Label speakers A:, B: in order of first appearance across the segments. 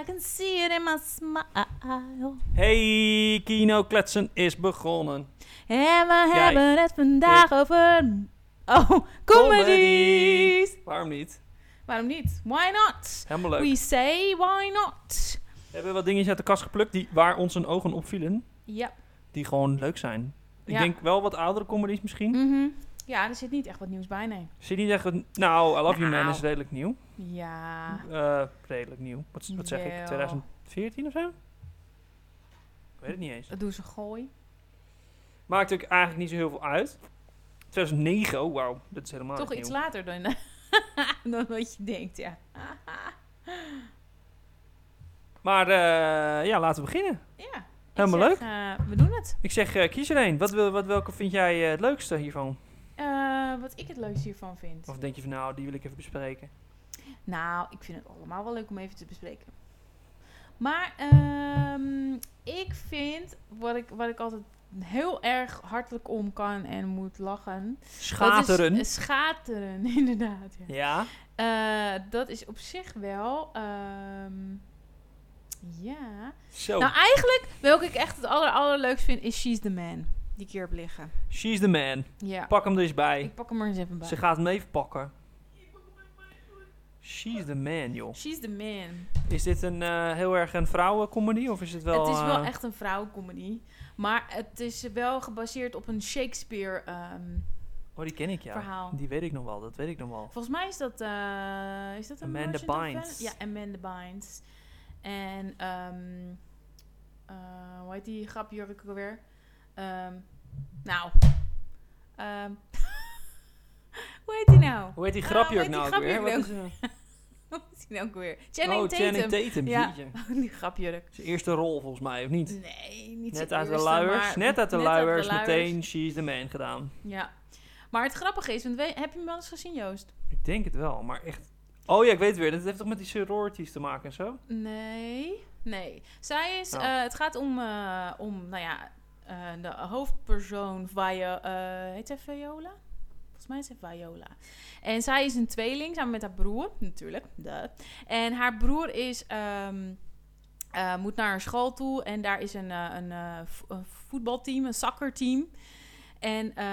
A: I can see it in my smile.
B: Hey, Kino Kletsen is begonnen.
A: En we hebben het vandaag over... Oh, comedies!
B: Waarom niet?
A: Waarom niet? Why not?
B: Helemaal leuk.
A: We say why not?
B: We hebben wat dingetjes uit de kast geplukt die, waar ons een ogen opvielen.
A: Ja.
B: Die gewoon leuk zijn. Ik
A: Ja.
B: denk wel wat oudere comedies misschien.
A: Mhm. Ja, er zit niet echt wat nieuws bij, nee.
B: Zit niet echt... een- Nou, I Love You Man
A: Nou.
B: is redelijk nieuw.
A: Ja.
B: Eh, redelijk nieuw. Wat, wat zeg
A: Jawel.
B: ik? 2014 of zo? Ik weet het niet eens.
A: Dat doen ze gooi.
B: Maakt ook eigenlijk niet zo heel veel uit. 2009, oh wauw. Dat is helemaal
A: Toch
B: niet
A: iets
B: nieuw.
A: later dan, dan wat je denkt, ja.
B: Maar eh, ja, laten we beginnen.
A: Ja. ik
B: Helemaal
A: zeg, eh, we doen het.
B: Ik zeg, eh, kies er één. Wat, wil- wat, welke vind jij eh, het leukste hiervan?
A: Eh, wat ik het leukste hiervan vind.
B: Of denk je van nou, die wil ik even bespreken?
A: Nou, ik vind het allemaal wel leuk om even te bespreken. Maar ehm, ik vind wat ik, wat ik altijd heel erg hartelijk om kan en moet lachen.
B: Schateren.
A: Dat is, eh, schateren, inderdaad. Ja.
B: Ja.
A: Eh, dat is op zich wel. ehm, ja.
B: Zo.
A: Nou, eigenlijk welke ik echt het aller, allerleukst vind is She's the Man. Die keer heb liggen.
B: She's the man.
A: Ja.
B: Pak hem er eens bij.
A: Ik pak hem er eens even bij.
B: Ze gaat hem even pakken. She's the man, joh.
A: She's the Man.
B: Is dit een eh, heel erg een vrouwencomedy? Of is het wel...
A: het is wel
B: eh,
A: echt een vrouwencomedy. Maar het is wel gebaseerd op een Shakespeare ehm,
B: Oh, die ken ik, ja.
A: verhaal.
B: Die weet ik nog wel. Dat weet ik nog wel.
A: Volgens mij is dat... eh, is dat een
B: Amanda
A: Merchant of
B: Bynes.
A: Venice? Ja, Amanda Bynes. En... ehm eh, hoe heet die grapjurk ook alweer? Ehm, nou... ehm, hoe heet die nou?
B: Hoe heet die
A: Ah,
B: grapje
A: hoe
B: ook
A: heet
B: nou
A: die
B: ook weer?
A: grapjurk
B: Wat is, eh,
A: Hoe heet die nou ook weer? Channing
B: oh,
A: Tatum.
B: Channing Tatum.
A: Ja.
B: jeetje.
A: die grapjurk.
B: Zijn eerste rol volgens mij, of niet?
A: Nee, niet
B: Net
A: zijn
B: uit de
A: eerste,
B: luiers.
A: maar-
B: Net uit de luiers. Meteen She's the man gedaan.
A: Ja. Maar het grappige is, want we- heb je hem wel eens gezien, Joost?
B: Ik denk het wel, maar echt. Oh ja, ik weet het weer. Dat heeft toch met die sororities te maken en zo?
A: Nee. Nee. Zij is,
B: Oh.
A: eh, het gaat om, eh, om nou ja, eh, de hoofdpersoon, Vio, eh heet zij Viola? Volgens mij is het Viola. En zij is een tweeling, samen met haar broer, natuurlijk. Duh. En haar broer is, ehm, eh, moet naar een school toe en daar is een, eh, een, eh, vo- een voetbalteam, een soccerteam. En eh,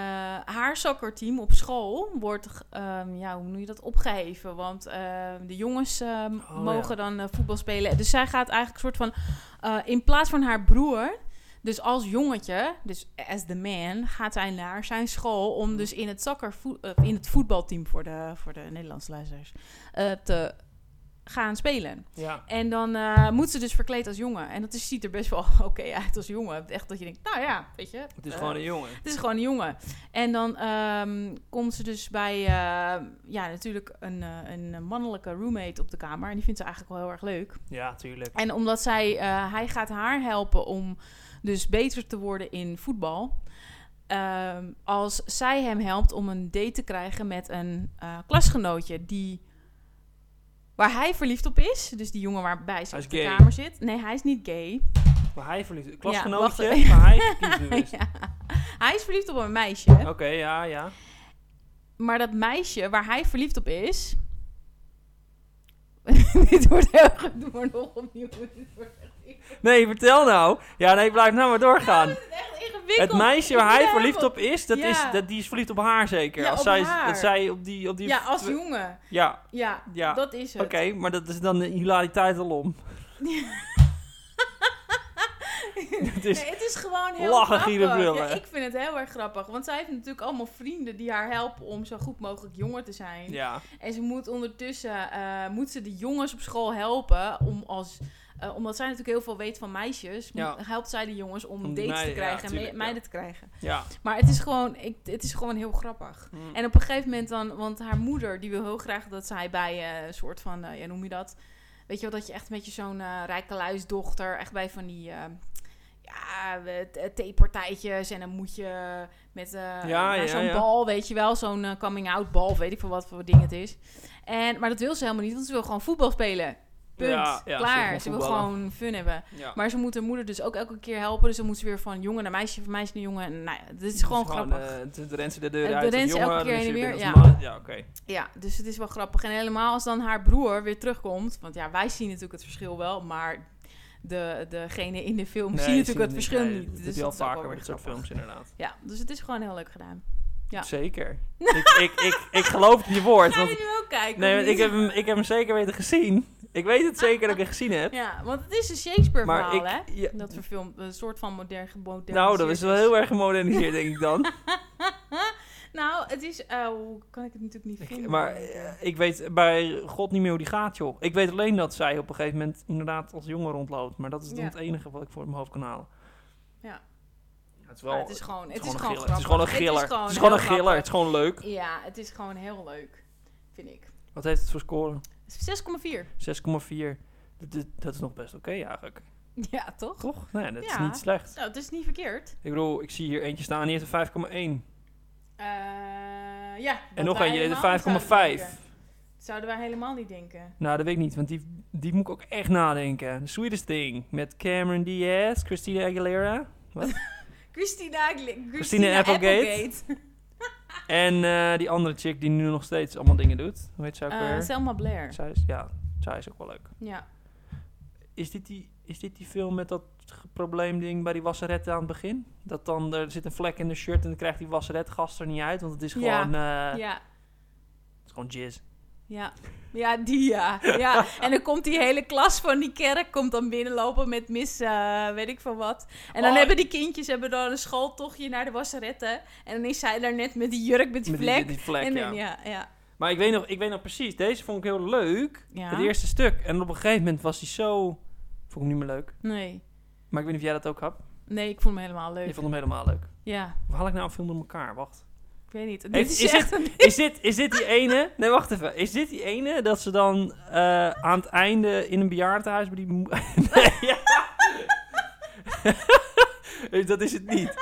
A: haar soccerteam op school wordt, g- ehm, ja, hoe noem je dat, opgeheven. Want ehm, de jongens ehm,
B: Oh, ja.
A: mogen dan eh, voetbal spelen. Dus zij gaat eigenlijk een soort van, eh, in plaats van haar broer, dus als jongetje, dus as the man, gaat hij naar zijn school
B: Mm.
A: om dus in het, soccer, in het voetbalteam voor de, voor de Nederlandse luisteraars eh, te gaan spelen.
B: Ja.
A: En dan eh, moet ze dus verkleed als jongen. En dat is, ziet er best wel oké uit als jongen. Echt dat je denkt, nou ja, weet je.
B: Het is
A: eh,
B: gewoon een jongen.
A: het is gewoon een jongen. En dan ehm, komt ze dus bij, eh, ja, natuurlijk een, eh, een mannelijke roommate op de kamer. En die vindt ze eigenlijk wel heel erg leuk.
B: Ja, tuurlijk.
A: En omdat zij, eh, hij gaat haar helpen om dus beter te worden in voetbal. Ehm, als zij hem helpt om een date te krijgen met een eh, klasgenootje die. Waar hij verliefd op is. Dus die jongen waarbij ze
B: Hij is
A: op de
B: gay.
A: kamer zit. Nee, hij is niet gay.
B: Maar hij verliefd.
A: Ah. wacht.
B: Klasgenootje, maar hij verliefd is.
A: Ja. Hij is verliefd op een meisje.
B: Oké, ja, ja.
A: Maar dat meisje waar hij verliefd op is. dit wordt heel goed. Doe maar nog opnieuw. Dit wordt echt
B: Nee, vertel nou. Ja, nee, blijf nou maar doorgaan.
A: echt ingewikkeld.
B: Het meisje waar hij
A: Ja.
B: verliefd op is, dat
A: Ja.
B: is dat, die is verliefd op haar zeker.
A: Ja,
B: als
A: op
B: zij,
A: haar.
B: Dat zij op die... Op die
A: Ja, als jongen.
B: Ja,
A: Ja,
B: Ja,
A: dat is het.
B: oké, maar dat is dan de hilariteit al om. Het is...
A: Nee, het is gewoon heel
B: Lachen,
A: grappig.
B: gieren, brullen.
A: Ja, ik vind het heel erg grappig. Want zij heeft natuurlijk allemaal vrienden die haar helpen om zo goed mogelijk jonger te zijn.
B: Ja,
A: En ze moet ondertussen eh, moet ze de jongens op school helpen om als... eh, omdat zij natuurlijk heel veel weet van meisjes,
B: Ja.
A: moet- helpt zij de jongens om,
B: Om die
A: dates
B: meiden,
A: te
B: ja,
A: krijgen en me-
B: tuurlijk, ja.
A: meiden te krijgen.
B: ja.
A: Maar het is gewoon, ik, het is gewoon heel grappig.
B: Mm.
A: En op een gegeven moment dan, want haar moeder die wil heel graag dat zij bij eh, een soort van, eh, ja noem je dat? Weet je wel, dat je echt met je zo'n eh rijke luisdochter, echt bij van die, eh, ja, eh, t- theepartijtjes en dan moet je met eh, naar
B: ja,
A: zo'n
B: ja.
A: bal, weet je wel, zo'n eh, coming out bal, of weet ik veel wat voor ding het is. En, maar dat wil ze helemaal niet, want ze wil gewoon voetbal spelen. Punt.
B: Ja, ja,
A: Klaar. Ze,
B: ze wil
A: wil
B: gewoon voetballen.
A: gewoon fun hebben.
B: Ja.
A: Maar ze moet haar moeder dus ook elke keer helpen. Dus dan moet ze weer van jongen naar meisje, van meisje naar jongen. En, nou ja, dit is gewoon grappig.
B: De de rent ze de
A: Eh,
B: deur
A: de
B: uit.
A: rent
B: als
A: ze elke
B: jongen,
A: keer
B: dan is
A: heen en
B: hij
A: weer,
B: als
A: ja.
B: man. Ja, oké.
A: Ja, dus het is wel grappig. En helemaal als dan haar broer weer terugkomt. Want ja, wij zien natuurlijk het verschil wel. Maar de, degene in de film
B: Nee,
A: zien
B: je
A: natuurlijk het
B: ziet
A: verschil
B: nee,
A: niet.
B: Dat
A: dus
B: is wel
A: dat is ook
B: vaker
A: wel
B: met
A: weer
B: dit soort
A: grappig.
B: films, inderdaad.
A: Ja, dus het is gewoon heel leuk gedaan. Ja.
B: Zeker. ik, ik, ik, ik geloof je woord.
A: Ga
B: Want
A: je nu ook kijken?
B: Nee,
A: of
B: want
A: niet?
B: ik heb, hem, ik heb hem zeker weten gezien. Ik weet het zeker dat ik hem gezien heb.
A: Ja, want het is een Shakespeare-verhaal,
B: maar ik,
A: hè?
B: ja,
A: Dat verfilmd, een soort van modern geboden.
B: nou, dat is wel heel erg gemoderniseerd, denk ik dan.
A: nou, het is... eh, hoe kan ik het natuurlijk niet
B: Ik,
A: vinden?
B: maar eh, ik weet bij God niet meer hoe die gaat, joh. Ik weet alleen dat zij op een gegeven moment inderdaad als jongen rondloopt. Maar dat is dan
A: Ja.
B: het enige wat ik voor mijn hoofd kan halen.
A: Ja.
B: Ja, Het is
A: Maar
B: wel...
A: het is gewoon, het is
B: een
A: gewoon
B: griller. Het is gewoon een
A: grappig.
B: griller. Het is gewoon een
A: heel
B: griller. Het is gewoon leuk.
A: grappig. Ja, het is gewoon heel leuk, vind ik.
B: Wat heeft het voor score?
A: 6,4.
B: 6,4. Dat, is- dat is nog best oké eigenlijk.
A: Ja, toch?
B: Toch? Nee, dat is
A: Ja.
B: niet slecht.
A: Nou, het is niet verkeerd.
B: Ik bedoel, ik zie hier eentje staan. Die heeft een 5,1.
A: Eh, ja. dat
B: En nog
A: wij
B: eentje
A: helemaal niet zouden
B: heeft een 5,5.
A: denken. Zouden wij helemaal niet denken.
B: Nou, dat weet ik niet, want die, die moet ik ook echt nadenken. The Sweetest Thing met Cameron Diaz, Christina Aguilera
A: Christina, Agli- Christina,
B: Applegate.
A: Applegate.
B: en eh, die andere chick die nu nog steeds allemaal dingen doet. Hoe heet zij ook
A: Eh,
B: weer?
A: Selma Blair.
B: Zij is, ja, zij is ook wel leuk.
A: Ja.
B: Is dit die, is dit die film met dat ge- probleemding bij die wasserette aan het begin? Dat dan, er zit een vlek in de shirt en dan krijgt die wasserette gast er niet uit, want het is
A: Ja.
B: gewoon, eh,
A: Ja.
B: het is gewoon jizz.
A: Ja. Ja, die ja. ja. En dan komt die hele klas van die kerk komt dan binnenlopen met mis, eh, weet ik van wat. En dan
B: Oh.
A: hebben die kindjes hebben dan een schooltochtje naar de wasseretten. En dan is zij daar net met die jurk, met die
B: Met die-
A: vlek.
B: die vlek,
A: en
B: ja.
A: dan, ja, ja.
B: Maar ik weet, nog, ik weet nog precies, deze vond ik heel leuk,
A: Ja.
B: het eerste stuk. En op een gegeven moment was die zo, vond ik hem niet meer leuk.
A: Nee.
B: Maar ik weet niet of jij dat ook had.
A: Nee, ik vond hem helemaal leuk.
B: Je vond hem helemaal leuk.
A: Ja,
B: Hoe haal ik nou een film door elkaar? Wacht.
A: ik weet niet. Dit
B: Heeft-
A: is,
B: is
A: echt een-
B: Is dit, is dit die ene... Nee, wacht even. Is dit die ene dat ze dan eh, aan het einde in een bejaardentehuis bij die... mo- nee, ja. Dus dat is het niet.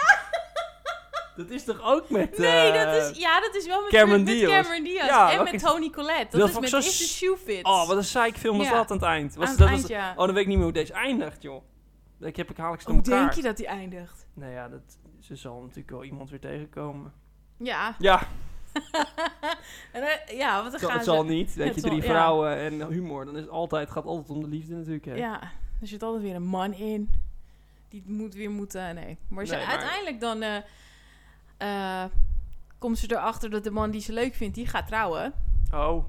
B: Dat is toch ook met...
A: Nee,
B: eh,
A: dat is, ja, dat is wel met
B: Cameron
A: met
B: Diaz.
A: Cameron Diaz.
B: Ja,
A: en
B: welke
A: met
B: is-
A: Tony Collette. Dat,
B: Dat
A: is
B: vond
A: met
B: ik
A: de
B: zo s-
A: Shoe Fit.
B: Oh, wat een psych film was
A: Ja.
B: dat aan het eind. Was,
A: Aan het
B: dat
A: eind,
B: was,
A: ja.
B: Oh, dan weet ik niet meer hoe deze eindigt, joh. Ik heb ik haal ik ze door
A: Hoe
B: elkaar.
A: Oh, denk je dat die eindigt?
B: Nou ja, dat, ze zal natuurlijk wel iemand weer tegenkomen.
A: Ja.
B: Ja,
A: En dan- ja, want dan
B: het zal,
A: gaan
B: het
A: ze...
B: zal niet. Weet
A: het
B: je,
A: zal-
B: drie
A: ja.
B: vrouwen en eh, humor. Dan is het altijd, gaat altijd om de liefde natuurlijk. Hè.
A: Ja, er zit altijd weer een man in. Die moet weer moeten. Nee. Maar, ze,
B: Nee, maar-
A: uiteindelijk dan eh, eh, komt ze erachter dat de man die ze leuk vindt, die gaat trouwen.
B: Oh,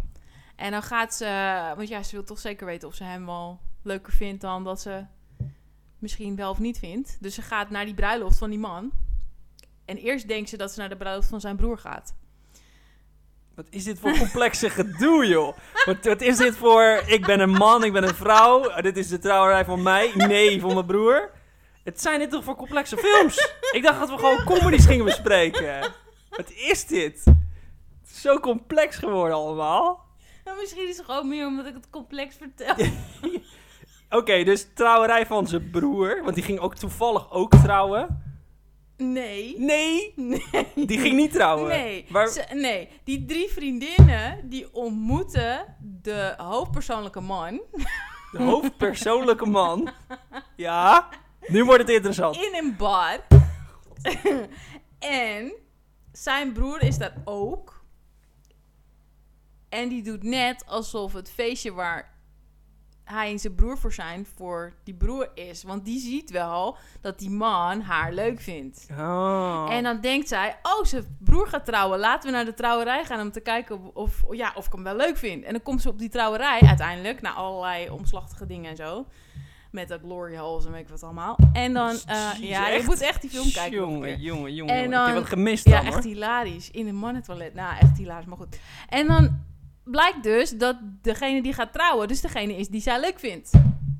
A: En dan gaat ze. Want ja, ze wil toch zeker weten of ze hem wel leuker vindt dan dat ze misschien wel of niet vindt. Dus ze gaat naar die bruiloft van die man. En eerst denkt ze dat ze naar de bruiloft van zijn broer gaat.
B: Wat is dit voor complexe gedoe, joh? Wat, wat is dit voor... Ik ben een man, ik ben een vrouw. eh, Dit is de trouwerij van mij. Nee, van mijn broer. Het zijn dit toch voor complexe films? Ik dacht dat we gewoon comedies gingen bespreken. Wat is dit? Het is zo complex geworden allemaal.
A: Nou, misschien is het gewoon meer omdat ik het complex vertel.
B: Oké, dus trouwerij van zijn broer. Want die ging ook toevallig ook trouwen.
A: Nee.
B: Nee,
A: Nee.
B: die ging niet trouwen.
A: Nee,
B: Waar-
A: ze- nee, die drie vriendinnen die ontmoeten de hoofdpersoonlijke man
B: De hoofdpersoonlijke man. Ja, nu wordt het interessant.
A: in een bar. en zijn broer is daar ook. En die doet net alsof het feestje waar hij en zijn broer voor zijn, voor die broer is. Want die ziet wel dat die man haar leuk vindt.
B: Oh.
A: En dan denkt zij, oh, zijn broer gaat trouwen. Laten we naar de trouwerij gaan om te kijken of- of, ja, of ik hem wel leuk vind. En dan komt ze op die trouwerij uiteindelijk, na allerlei omslachtige dingen en zo. Met dat glory holes en weet ik wat allemaal. En dan, eh,
B: Jezus,
A: ja, je
B: echt?
A: moet echt die film kijken. nog een keer.
B: Jongen, jongen, jongen.
A: En
B: ik heb
A: dan-
B: wat gemist
A: Ja,
B: dan,
A: echt
B: hoor.
A: hilarisch. In een mannentoilet. Nou, echt hilarisch, maar goed. En dan blijkt dus dat degene die gaat trouwen, dus degene is die zij leuk vindt.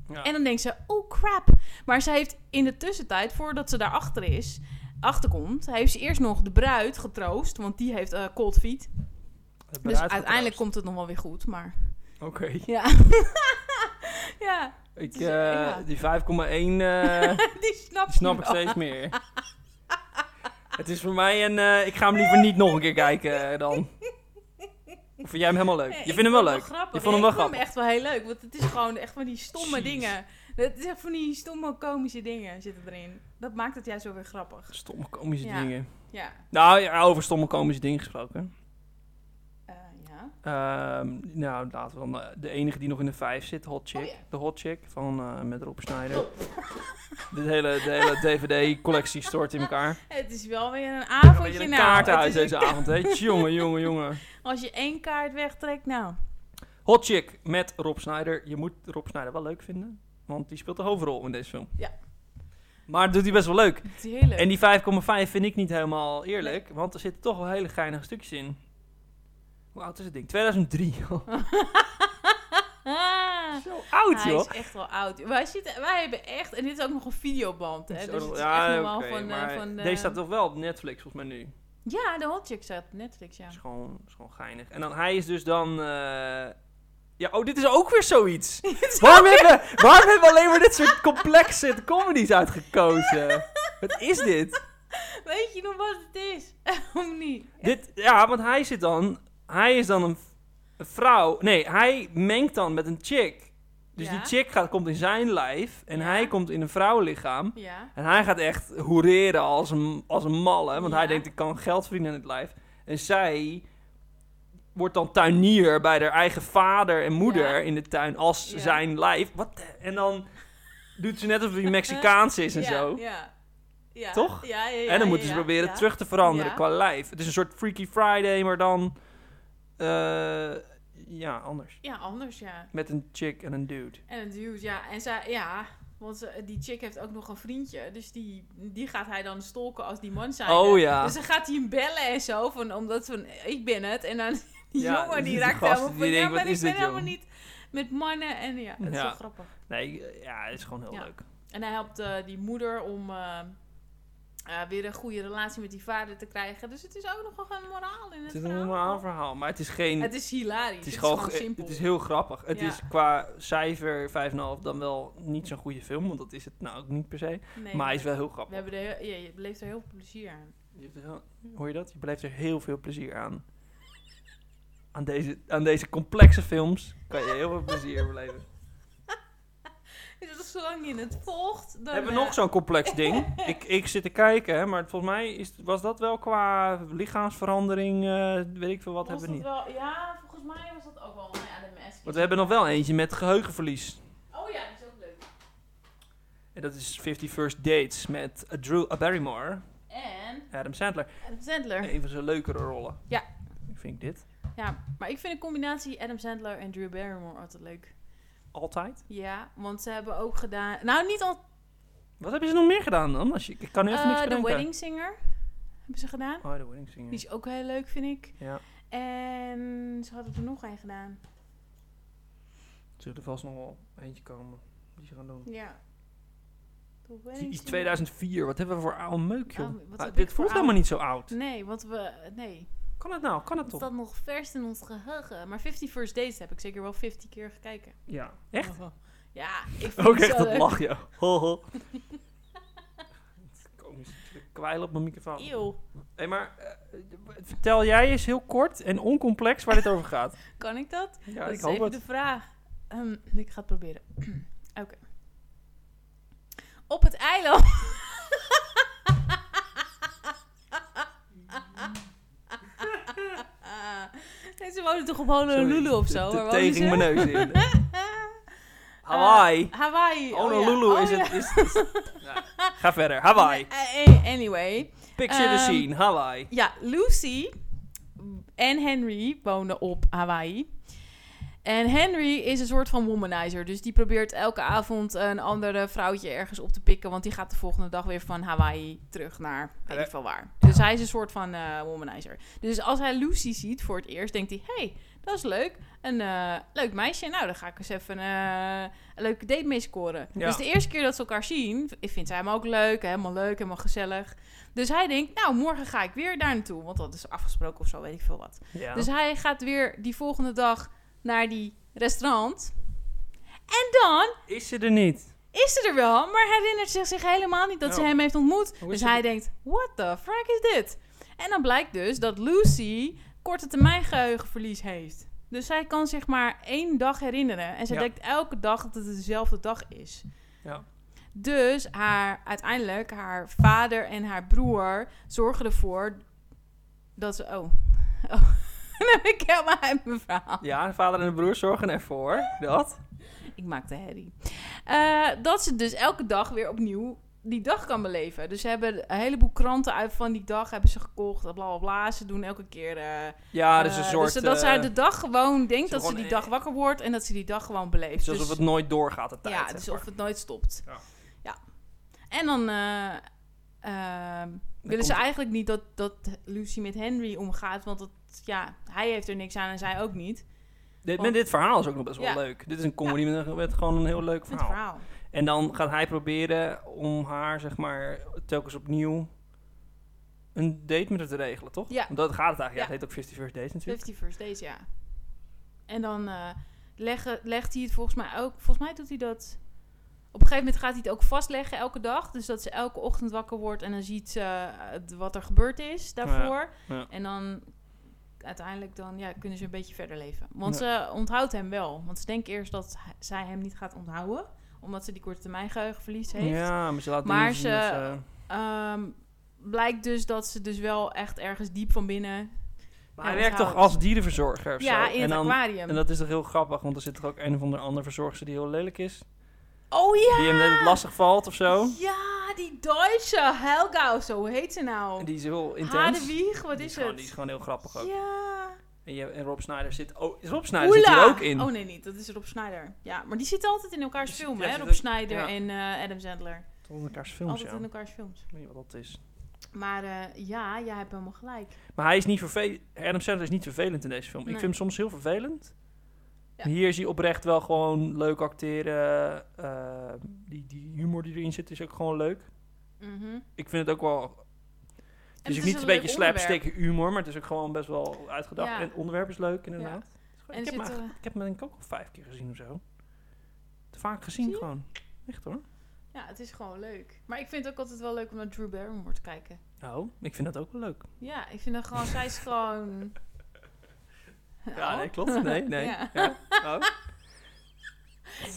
B: Ja.
A: En dan denkt ze, oh crap. Maar ze heeft in de tussentijd, voordat ze daarachter is, achterkomt, heeft ze eerst nog de bruid getroost, want die heeft eh, cold feet.
B: Dat ben
A: Dus
B: uitgepraat.
A: uiteindelijk komt het nog wel weer goed, maar
B: Oké.
A: ja. ja,
B: Ik,
A: Dus,
B: eh,
A: ja.
B: Die 5,1 eh,
A: die snapt
B: snap ik steeds meer. Het is voor mij een... eh, ik ga hem liever niet nog een keer kijken eh, dan. Of vind jij hem helemaal leuk?
A: Nee,
B: Je
A: ik
B: vindt hem wel
A: vond
B: leuk?
A: grappig.
B: Je vond hem
A: Ja,
B: wel
A: ik vond
B: grappig?
A: hem echt wel heel leuk. Want het is gewoon echt van die stomme
B: Jeez.
A: dingen. Het is echt van die stomme, komische dingen zitten erin. Dat maakt het juist wel weer grappig.
B: Stomme komische
A: Ja.
B: dingen.
A: Ja.
B: Nou, ja, over stomme komische dingen gesproken.
A: Eh, ja.
B: Ehm, nou, laten we dan eh, de enige die nog in de vijf zit, Hot Chick.
A: Oh ja. Oh.
B: De Hot Chick van, eh, met Rob Schneider. De hele, de hele DVD-collectie stort in elkaar.
A: Het is wel weer een
B: Dan ben je
A: avondje
B: een
A: nou.
B: kaart
A: Het
B: uit
A: is een
B: deze
A: ka-
B: avond, hè? Jongen, jongen, jongen.
A: Als je één kaart wegtrekt, nou.
B: Hot Chick met Rob Snyder. Je moet Rob Snyder wel leuk vinden, want die speelt de hoofdrol in deze film.
A: Ja.
B: Maar dat doet hij best wel leuk.
A: Het is heel leuk.
B: En die 5,5 vind ik niet helemaal eerlijk, want er zitten toch wel hele geinige stukjes in. Hoe oud is het ding? Oh. 2003. Zo oud,
A: Ah, Hij
B: joh.
A: is echt wel oud. Wij, zitten, wij hebben echt... En dit is ook nog een videoband, hè.
B: Zo,
A: dus het is
B: ja,
A: echt nog wel
B: oké,
A: van... eh,
B: maar
A: van de-
B: Deze staat toch wel op Netflix, volgens mij nu.
A: Ja, de Hot Chick staat op Netflix, ja.
B: Is, gewoon, is gewoon geinig. En dan hij is dus dan... eh, Ja, oh, dit is ook weer zoiets. waarom, hebben, waarom hebben we alleen maar dit soort complexe comedies uitgekozen? Wat is dit?
A: Weet je nog wat het is? Om niet.
B: Dit, ja, want hij zit dan... Hij is dan een, v- een vrouw... Nee, hij mengt dan met een chick. Dus
A: Ja.
B: die chick gaat, komt in zijn lijf. En
A: Ja.
B: hij komt in een vrouwenlichaam.
A: Ja.
B: En hij gaat echt hoereren als een, als een malle. Want hij
A: Ja.
B: denkt, ik kan geld verdienen in het lijf. En zij wordt dan tuinier bij haar eigen vader en moeder
A: Ja.
B: in de tuin als
A: Ja.
B: zijn lijf. Wat de- En dan doet ze net alsof hij Mexicaans is en
A: ja,
B: zo.
A: Ja. Ja.
B: Toch?
A: Ja, ja, ja,
B: en dan
A: ja,
B: moeten ze
A: ja,
B: proberen
A: ja.
B: terug te veranderen
A: Ja.
B: qua lijf. Het is een soort Freaky Friday, maar dan... eh, ja, anders.
A: Ja, anders, ja.
B: Met een chick en een dude.
A: En een dude, ja. En zij, ja... Want ze- die chick heeft ook nog een vriendje. Dus die, die gaat hij dan stalken als die man zijn.
B: Oh ja.
A: Dus dan gaat hij hem bellen en zo. Van, omdat van, ik ben het. En dan die
B: Ja,
A: jongen die
B: die
A: raakt
B: gast
A: helemaal van,
B: die
A: ja,
B: denkt,
A: maar
B: wat
A: ik
B: is
A: ben
B: dit,
A: helemaal
B: joh?
A: niet met mannen. En ja, dat is
B: Ja.
A: wel grappig.
B: Nee, ja, het is gewoon heel
A: Ja.
B: leuk.
A: En hij helpt eh, die moeder om... eh, eh, weer een goede relatie met die vader te krijgen. Dus het is ook nog wel een moraal in het,
B: Het is een
A: verhaal.
B: normaal verhaal, maar het is geen...
A: Het is hilarisch.
B: Het is, gewoon, ge-
A: simpel.
B: Het is heel grappig. Het
A: Ja.
B: is qua cijfer 5,5 dan wel niet zo'n goede film, want dat is het nou ook niet per se.
A: Nee,
B: maar hij is wel heel grappig.
A: We hebben er, heel- ja, je beleeft er heel veel plezier aan.
B: Je hebt er wel- hoor je dat? Je beleeft er heel veel plezier aan. Aan deze, aan deze complexe films kan je heel veel plezier beleven.
A: Dus zolang je het volgt, dan...
B: hebben we
A: eh,
B: nog zo'n complex ding? ik, ik zit te kijken, hè, maar volgens mij is, was dat wel qua lichaamsverandering, eh, weet ik veel wat,
A: was
B: hebben we
A: dat
B: niet.
A: wel- ja, volgens mij was dat ook wel. Nou ja, de mes.
B: Want we hebben nog wel eentje met geheugenverlies.
A: Oh ja, die is ook leuk.
B: En dat is 51st Dates met eh, Drew Barrymore,
A: En...
B: Adam Sandler.
A: Adam Sandler.
B: Een van zijn leukere rollen.
A: Ja.
B: Ik vind dit.
A: Ja, maar ik vind de combinatie Adam Sandler en Drew Barrymore altijd leuk.
B: Altijd.
A: Ja, want ze hebben ook gedaan... Nou, niet
B: Oh,
A: al...
B: Wat hebben ze nog meer gedaan dan? Als je, ik kan even
A: eh,
B: niks
A: de
B: bedenken.
A: Wedding Singer hebben ze gedaan.
B: Oh, de wedding singer.
A: Die is ook heel leuk, vind ik.
B: Ja.
A: En ze hadden er nog een gedaan.
B: Er zullen vast nog wel eentje komen. Die ze gaan doen.
A: Ja. The
B: Die
A: Wedding
B: Is
A: Singer.
B: 2004. Wat hebben we voor oude meuk, joh.
A: Oude- wat
B: Ah,
A: heb ik
B: dit
A: voor
B: voelt
A: oude-
B: helemaal niet zo oud.
A: Nee, want we... Nee.
B: Kan het nou? Kan het
A: Dat
B: toch?
A: is dat nog vers in ons geheugen. Maar 50 First Dates heb ik zeker wel 50 keer gekeken. Oh.
B: Ja. Echt?
A: Ja, ik vind
B: Ook
A: het
B: echt
A: zo
B: dat
A: leuk.
B: lachje. Ho, ho. Komisch. Ik Kwijl op mijn microfoon.
A: Eeuw,
B: hey, maar eh, vertel jij eens heel kort en oncomplex waar dit over gaat.
A: kan ik dat?
B: Ja,
A: dat
B: ik
A: is
B: hoop
A: even
B: het.
A: de vraag. Ehm, ik ga het proberen. Oké. Op het eiland. nee, ze wonen toch op Honolulu of zo? Waar wonen
B: Tegen
A: ze?
B: mijn neus in.
A: Eh,
B: Hawaii.
A: Hawaii. Ah. oh ja.
B: Honolulu
A: Oh
B: is
A: ja.
B: het. Is, is- Ja. Ga verder. Hawaii.
A: Eh, eh, Anyway.
B: Picture the
A: Ehm,
B: scene. Hawaii.
A: Ja, Lucy en Henry wonen op Hawaii. En Henry is een soort van womanizer. Dus die probeert elke avond een andere vrouwtje ergens op te pikken. Want die gaat de volgende dag weer van Hawaii terug naar weet ik veel waar. Dus hij is een soort van eh, womanizer. Dus als hij Lucy ziet voor het eerst, denkt hij... hey, dat is leuk. Een eh, leuk meisje. Nou, dan ga ik eens even eh, een leuke date mee scoren.
B: Ja.
A: Dus de eerste keer dat ze elkaar zien, v- vindt zij hem ook leuk. Helemaal leuk, helemaal gezellig. Dus hij denkt, nou, morgen ga ik weer daar naartoe. Want dat is afgesproken of zo, weet ik veel wat.
B: Ja.
A: Dus hij gaat weer die volgende dag naar die restaurant. En dan
B: is ze er niet?
A: is ze er wel, maar herinnert zich, zich helemaal niet dat ze
B: Oh.
A: hem heeft ontmoet.
B: is
A: dus
B: het?
A: hij denkt, what the fuck is dit? En dan blijkt dus dat Lucy korte termijn geheugenverlies heeft. Dus zij kan zich maar één dag herinneren. En zij
B: Ja.
A: denkt elke dag dat het dezelfde dag is.
B: Ja.
A: Dus haar, uiteindelijk, haar vader en haar broer zorgen ervoor dat ze... Oh, oh. dan ben ik helemaal uit mijn verhaal.
B: Ja, de vader en de broer zorgen ervoor dat.
A: Ik maakte herrie. Eh, dat ze dus elke dag weer opnieuw die dag kan beleven. Dus ze hebben een heleboel kranten uit van die dag hebben ze gekocht. Bla bla bla. Ze doen elke keer. eh,
B: Ja, dus
A: eh,
B: een soort.
A: dus dat zij
B: eh,
A: de dag gewoon denkt
B: ze
A: dat ze
B: gewoon,
A: die
B: eh,
A: dag wakker wordt en dat ze die dag gewoon beleeft.
B: het is alsof
A: Dus-
B: het nooit doorgaat, de tijd.
A: ja,
B: zeg
A: dus
B: maar.
A: of het nooit stopt.
B: Ja.
A: En dan eh, ehm,
B: Dan
A: willen ze
B: komt-
A: eigenlijk niet dat, dat Lucy met Henry omgaat, want dat, ja, hij heeft er niks aan en zij ook niet.
B: Dit, met dit verhaal is ook nog best wel
A: Ja.
B: leuk. Dit is een comedy met, een- met gewoon een heel leuk
A: Met
B: verhaal.
A: het verhaal.
B: En dan gaat hij proberen om haar, zeg maar, telkens opnieuw een date met haar te regelen, toch?
A: Ja.
B: Want Dat gaat het eigenlijk.
A: Ja.
B: Ja, het heet ook 50 First Dates natuurlijk.
A: 50 First Dates, ja. En dan eh, leggen, legt hij het volgens mij ook. Volgens mij doet hij dat. Op een gegeven moment gaat hij het ook vastleggen elke dag. Dus dat ze elke ochtend wakker wordt en dan ziet ze eh, het- wat er gebeurd is daarvoor.
B: Ja, ja.
A: En dan uiteindelijk dan, ja, kunnen ze een beetje verder leven. Want ze onthoudt hem wel. Want ze denkt eerst dat hij- zij hem niet gaat onthouden. Omdat ze die korte termijn geheugenverlies heeft.
B: Ja, maar ze laat eh,
A: Maar
B: niet zien dat
A: ze-
B: ze...
A: Ehm, blijkt dus dat ze dus wel echt ergens diep van binnen...
B: Maar hij
A: Ja,
B: werkt toch
A: onthoudt.
B: als dierenverzorger of
A: ja,
B: zo?
A: in
B: en,
A: het
B: dan,
A: aquarium.
B: en dat is toch heel grappig, want er zit toch ook een of andere andere verzorgster die heel lelijk is.
A: oh ja!
B: Die hem net lastig valt of zo.
A: Ja, die Duitse Helga of zo. Hoe heet ze nou?
B: En die is heel intens.
A: Hadewieg, wat
B: Die
A: is
B: gewoon-
A: het?
B: die is gewoon heel grappig ook.
A: Ja.
B: En, je, en Rob Snyder zit... Oh, Rob Snyder zit
A: Oela.
B: hier ook in.
A: Oh nee, niet. Dat is Rob Snyder. Ja, maar die zitten altijd in elkaars
B: Die zit-
A: films,
B: ja,
A: hè?
B: zit
A: Rob
B: ook-
A: Snyder
B: ja.
A: en eh, Adam Sandler.
B: Tot in elkaars films,
A: altijd
B: ja.
A: in elkaars films.
B: Ik weet niet wat dat is.
A: Maar eh, ja, jij hebt helemaal gelijk.
B: Maar hij is niet vervelend. Adam Sandler is niet vervelend in deze film. Ik
A: Nee.
B: vind hem soms heel vervelend.
A: Ja.
B: Hier is hij oprecht wel gewoon leuk acteren. Eh, die, die humor die erin zit is ook gewoon leuk.
A: Mhm. En
B: Ik vind het ook wel... Het is ook Dus niet een,
A: leuk
B: beetje
A: onderwerp.
B: slapstick humor, maar het is ook gewoon best wel uitgedacht.
A: Ja.
B: En het onderwerp is leuk,
A: En
B: inderdaad.
A: er
B: ik, heb hem
A: zit,
B: eigenlijk-
A: eh,
B: ik heb hem denk ik ook al vijf keer gezien of zo. Te vaak gezien
A: Zie je?
B: gewoon. Echt hoor.
A: Ja, het is gewoon leuk. Maar ik vind het ook altijd wel leuk om naar Drew Barrymore te kijken.
B: Nou, ik vind dat ook wel leuk.
A: Ja, ik vind dat gewoon... zij is gewoon...
B: Ja,
A: Oh.
B: nee, klopt. Nee, nee.
A: Ja.
B: Ja. Oh.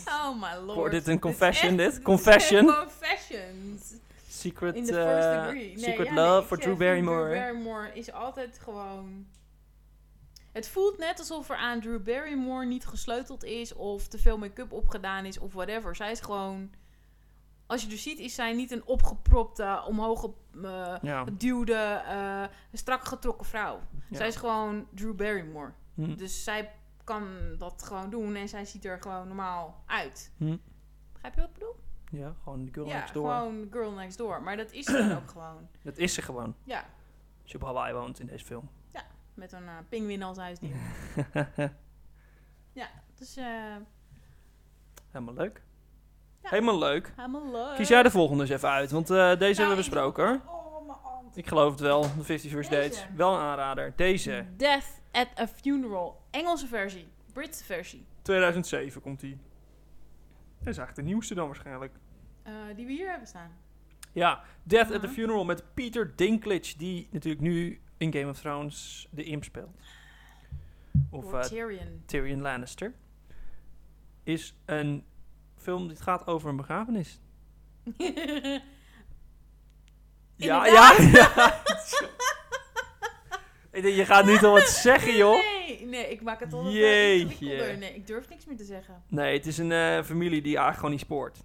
A: Oh my lord.
B: Wordt dit een
A: is
B: confession,
A: echt-
B: dit?
A: is
B: Confession?
A: echt Confessions.
B: Secret,
A: In the
B: eh,
A: first degree. Nee,
B: secret
A: ja,
B: love
A: nee, ik
B: voor
A: zeg,
B: Drew Barrymore.
A: Drew Barrymore is altijd gewoon... Het voelt net alsof er aan Drew Barrymore niet gesleuteld is... of te veel make-up opgedaan is of whatever. Zij is gewoon... Als je er ziet, is zij niet een opgepropte, omhoog eh,
B: Ja.
A: geduwde, eh, strak getrokken vrouw.
B: Ja.
A: Zij is gewoon Drew Barrymore.
B: Hm.
A: Dus zij kan dat gewoon doen en zij ziet er gewoon normaal uit.
B: Hm.
A: Begrijp je wat ik bedoel?
B: Ja, gewoon de girl
A: ja,
B: next door.
A: gewoon Girl Next Door. Maar dat is ze dan ook gewoon.
B: Dat is ze gewoon.
A: Ja,
B: Als je op Hawaii woont in deze film.
A: met een eh pinguïn als huisdier. ja, dus eh
B: Helemaal leuk.
A: Ja. Eh,
B: Helemaal leuk.
A: helemaal leuk.
B: Kies jij de volgende eens even uit, want eh, deze hebben we
A: ik-
B: besproken hoor.
A: Oh, mijn arm.
B: Ik geloof het wel, de 50 First
A: Deze.
B: Dates. Wel een aanrader. Deze,
A: Death at a Funeral. Engelse versie. Britse versie.
B: 2007 komt die. Dat is eigenlijk de nieuwste dan waarschijnlijk.
A: Eh, die we hier hebben staan.
B: Ja, Death at the
A: Mhm.
B: Funeral met Peter Dinklage, die natuurlijk nu in Game of Thrones de imp speelt. Of
A: Door
B: eh,
A: Tyrion.
B: Tyrion Lannister. Is een film die gaat over een begrafenis.
A: Inderdaad.
B: ja. Ik denk, je gaat niet al wat zeggen, joh.
A: Nee, nee, ik maak het al wat
B: Jeetje.
A: ingewikkelder. Nee, ik durf niks meer te zeggen.
B: Nee, het is een eh, familie die eigenlijk gewoon niet spoort.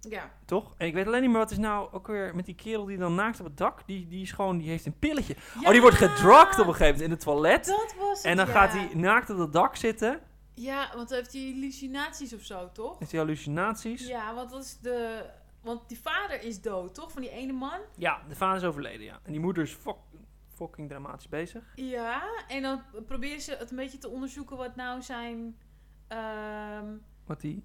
A: Ja.
B: Toch? En ik weet alleen niet meer wat is nou ook weer met die kerel die dan naakt op het dak. Die, die is gewoon, die heeft een pilletje. Oh, die wordt gedrukt op een gegeven moment in het toilet.
A: Dat was het,
B: En dan
A: ja.
B: gaat hij naakt op het dak zitten.
A: Ja, want dan heeft hij hallucinaties of zo, toch?
B: Heeft hij hallucinaties. Ja.
A: Ja, want dat is de... Want die vader is dood, toch? Van die ene man?
B: de vader is overleden, ja. En die moeder is fok- fucking dramatisch bezig.
A: Ja, en dan proberen ze het een beetje te onderzoeken wat nou zijn... ehm,
B: Wat die...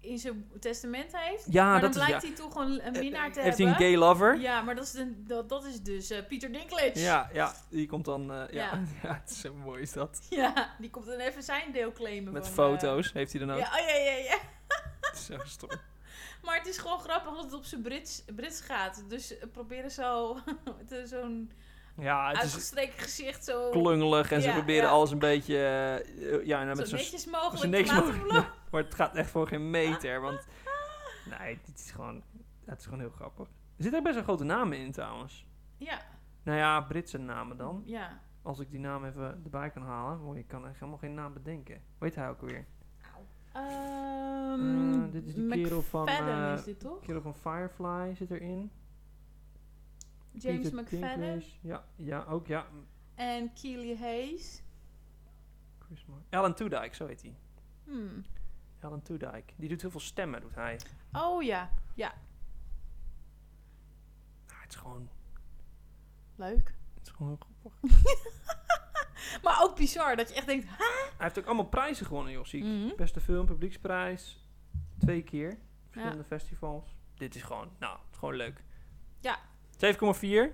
A: in zijn testament heeft.
B: Ja,
A: maar dan
B: Ah, dat is...
A: blijkt
B: ja. Eh,
A: hij toch gewoon een minnaar te
B: Heeft hij
A: hebben.
B: een gay lover?
A: Ja, maar dat is, de, dat, dat is dus eh, Peter Dinklage.
B: Ja, ja, die komt dan. eh, ja. Ja.
A: Ja.
B: het is zo mooi is dat.
A: Ja, die komt dan even zijn deel claimen.
B: Met
A: van, eh,
B: foto's heeft hij dan ook.
A: ja, oh, ja, ja, ja.
B: Het is Zo stom.
A: Maar het is gewoon grappig dat het op zijn Brits, Brits gaat. Dus eh, proberen zo te- zo'n
B: Ja, het is
A: uitgestreken gezicht zo,
B: klungelig en ze
A: Ja,
B: proberen
A: ja.
B: alles een beetje... eh, ja, nou,
A: zo
B: met zo'n
A: netjes mogelijk
B: zo niks
A: te laten
B: mogelijk.
A: vloeien.
B: Maar het gaat echt voor geen meter. Want nee, dit is gewoon, het is gewoon heel grappig. Er zitten ook best wel grote namen in trouwens.
A: Ja,
B: Nou ja, Britse namen dan.
A: ja.
B: Als ik die naam even erbij kan halen. Want ik kan echt helemaal geen naam bedenken. Hoe heet hij ook weer?
A: Ehm,
B: Eh, dit is die kerel van,
A: McFadden
B: eh,
A: is dit toch?
B: Kerel van Firefly zit erin.
A: James
B: Peter
A: McFadden
B: Dinklage. Ja, ja, ook ja.
A: en Keely Hayes.
B: Chris Mar- Alan Tudyk, zo heet hij.
A: Hmm.
B: Alan Tudyk. Die doet heel veel stemmen, doet hij.
A: Oh ja,
B: Nou, het is gewoon,
A: leuk.
B: het is gewoon heel grappig.
A: Maar ook bizar dat je echt denkt, ha?
B: Hij heeft ook allemaal prijzen gewonnen, joh, zie ik.
A: Mhm.
B: Beste film, publieksprijs. Twee keer. Verschillende
A: Ja.
B: festivals. Dit is gewoon, nou, het is gewoon leuk.
A: Ja.
B: 7,4.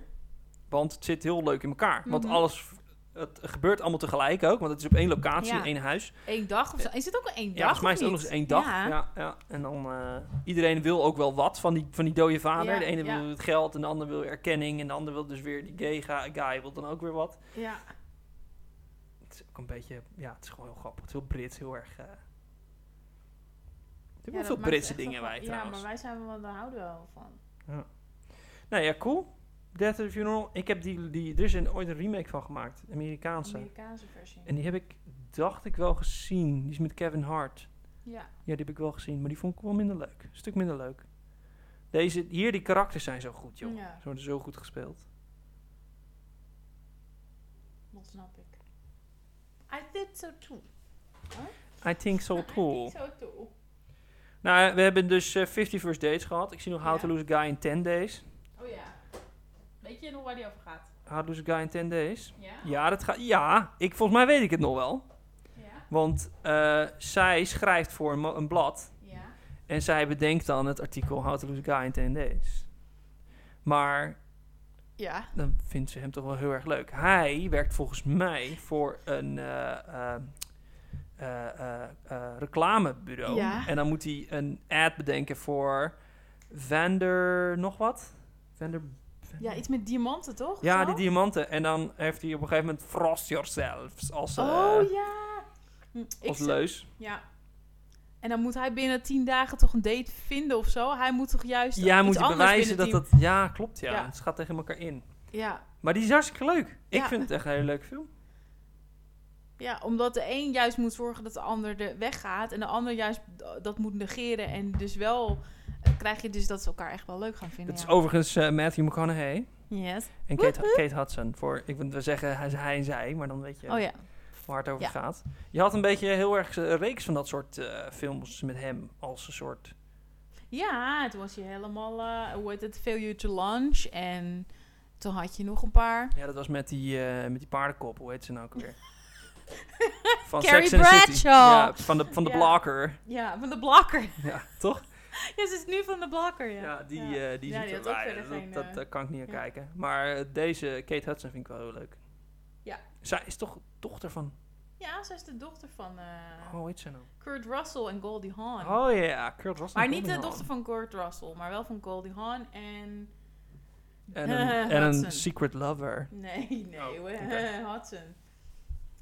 B: Want het zit heel leuk in elkaar. Want
A: Mhm.
B: alles, het gebeurt allemaal tegelijk ook. Want het is op één locatie,
A: Ja.
B: in één huis.
A: Eén dag of zo. Is het ook een één
B: Ja,
A: dag
B: volgens mij is
A: of
B: het ook nog
A: niet?
B: eens één dag.
A: Ja.
B: Ja. Ja, En dan, eh, iedereen wil ook wel wat van die, van die dode vader.
A: Ja,
B: de ene
A: ja.
B: wil het geld, en de ander wil erkenning. En de ander wil dus weer, die gay ga- guy wil dan ook weer wat.
A: Ja.
B: Het is ook een beetje, ja, het is gewoon heel grappig. Het is heel Brits, heel erg... eh. Er
A: Ja,
B: doen
A: dat
B: veel
A: maakt
B: Britse
A: echt wel
B: dingen
A: van-
B: wij
A: Ja,
B: trouwens.
A: maar wij zijn wel, daar houden we wel van.
B: Nou ja, cool. Death at the Funeral. Ik heb die, die, er is een, ooit een remake van gemaakt. Amerikaanse.
A: Amerikaanse versie.
B: En die heb ik, dacht ik, wel gezien. Die is met Kevin Hart.
A: Ja.
B: Ja, die heb ik wel gezien. Maar die vond ik wel minder leuk. Een stuk minder leuk. Deze, hier, die karakters zijn zo goed, joh.
A: Ja.
B: Ze worden zo goed gespeeld.
A: Dat snap ik. I did so too.
B: I think so
A: I
B: too.
A: did so too.
B: Nou, we hebben dus eh, 50 First Dates gehad. Ik zie nog How to
A: Ja.
B: Lose a Guy in 10 Days.
A: Oh ja. Weet je nog waar die over gaat?
B: How to Lose a Guy in 10 Days.
A: Ja?
B: Ja, dat gaat... Ja, ik, volgens mij weet ik het nog wel.
A: Ja?
B: Want eh, zij schrijft voor een, mo- een blad...
A: Ja?
B: En zij bedenkt dan het artikel How to Lose a Guy in 10 Days. Maar
A: Ja.
B: dan vindt ze hem toch wel heel erg leuk. Hij werkt volgens mij voor een eh, eh, eh, eh, eh, reclamebureau.
A: Ja.
B: En dan moet hij een ad bedenken voor Vander nog wat? Vander...
A: iets met diamanten toch?
B: Ja,
A: Zo?
B: die diamanten. En dan heeft hij op een gegeven moment Frost Yourself als, eh,
A: Oh ja. Hm, ik
B: als
A: zeg-
B: leus.
A: Ja. En dan moet hij binnen tien dagen toch een date vinden of zo. Hij moet toch juist
B: Ja,
A: iets
B: moet hij
A: anders
B: bewijzen dat
A: binnen
B: dat... Ja, klopt ja.
A: Ja.
B: Het gaat tegen elkaar in.
A: tien- Ja.
B: Maar die is hartstikke leuk. Ik
A: Ja.
B: vind het echt een hele leuke film.
A: ja, omdat de een juist moet zorgen dat de ander de weggaat... en de ander juist d- dat moet negeren. En dus wel eh, krijg je dus dat ze elkaar echt wel leuk gaan vinden.
B: Dat is
A: ja.
B: overigens eh, Matthew McConaughey
A: Yes.
B: en Kate, Kate Hudson. Voor, ik wil zeggen hij, hij en zij, maar dan weet je
A: Oh ja.
B: waar het over
A: Ja.
B: gaat. Je had een beetje heel erg een reeks van dat soort eh, films met hem als een soort...
A: Ja, toen was je helemaal, eh, hoe heet het, failure to lunch. En toen had je nog een paar.
B: Ja, dat was met die, eh, met die paardenkop, hoe heet ze nou ook weer? van
A: Carrie
B: and the City.
A: Bradshaw.
B: Ja, van de, van de
A: Ja.
B: blokker.
A: Ja, van de blakker.
B: Ja, toch?
A: Ja, ze is nu van de blakker, ja.
B: Ja, die,
A: Ja.
B: eh, die
A: Ja,
B: ziet
A: die
B: er...
A: had ook
B: ah,
A: verder
B: dat,
A: geen,
B: dat,
A: eh,
B: daar kan ik niet naar
A: ja.
B: kijken. Maar eh, deze Kate Hudson vind ik wel heel leuk.
A: Ja.
B: Zij is toch dochter van...
A: Ja, ze is de dochter van eh,
B: Oh, hoe heet ze nou?
A: Kurt Russell en Goldie Hawn.
B: Oh ja, Kurt Russell.
A: maar niet de
B: Cunningham.
A: dochter van Kurt Russell, maar wel van Goldie Hawn en...
B: En
A: Eh,
B: een, en een
A: Hudson.
B: secret lover.
A: Nee, nee,
B: Oh,
A: we-
B: oké.
A: Hudson.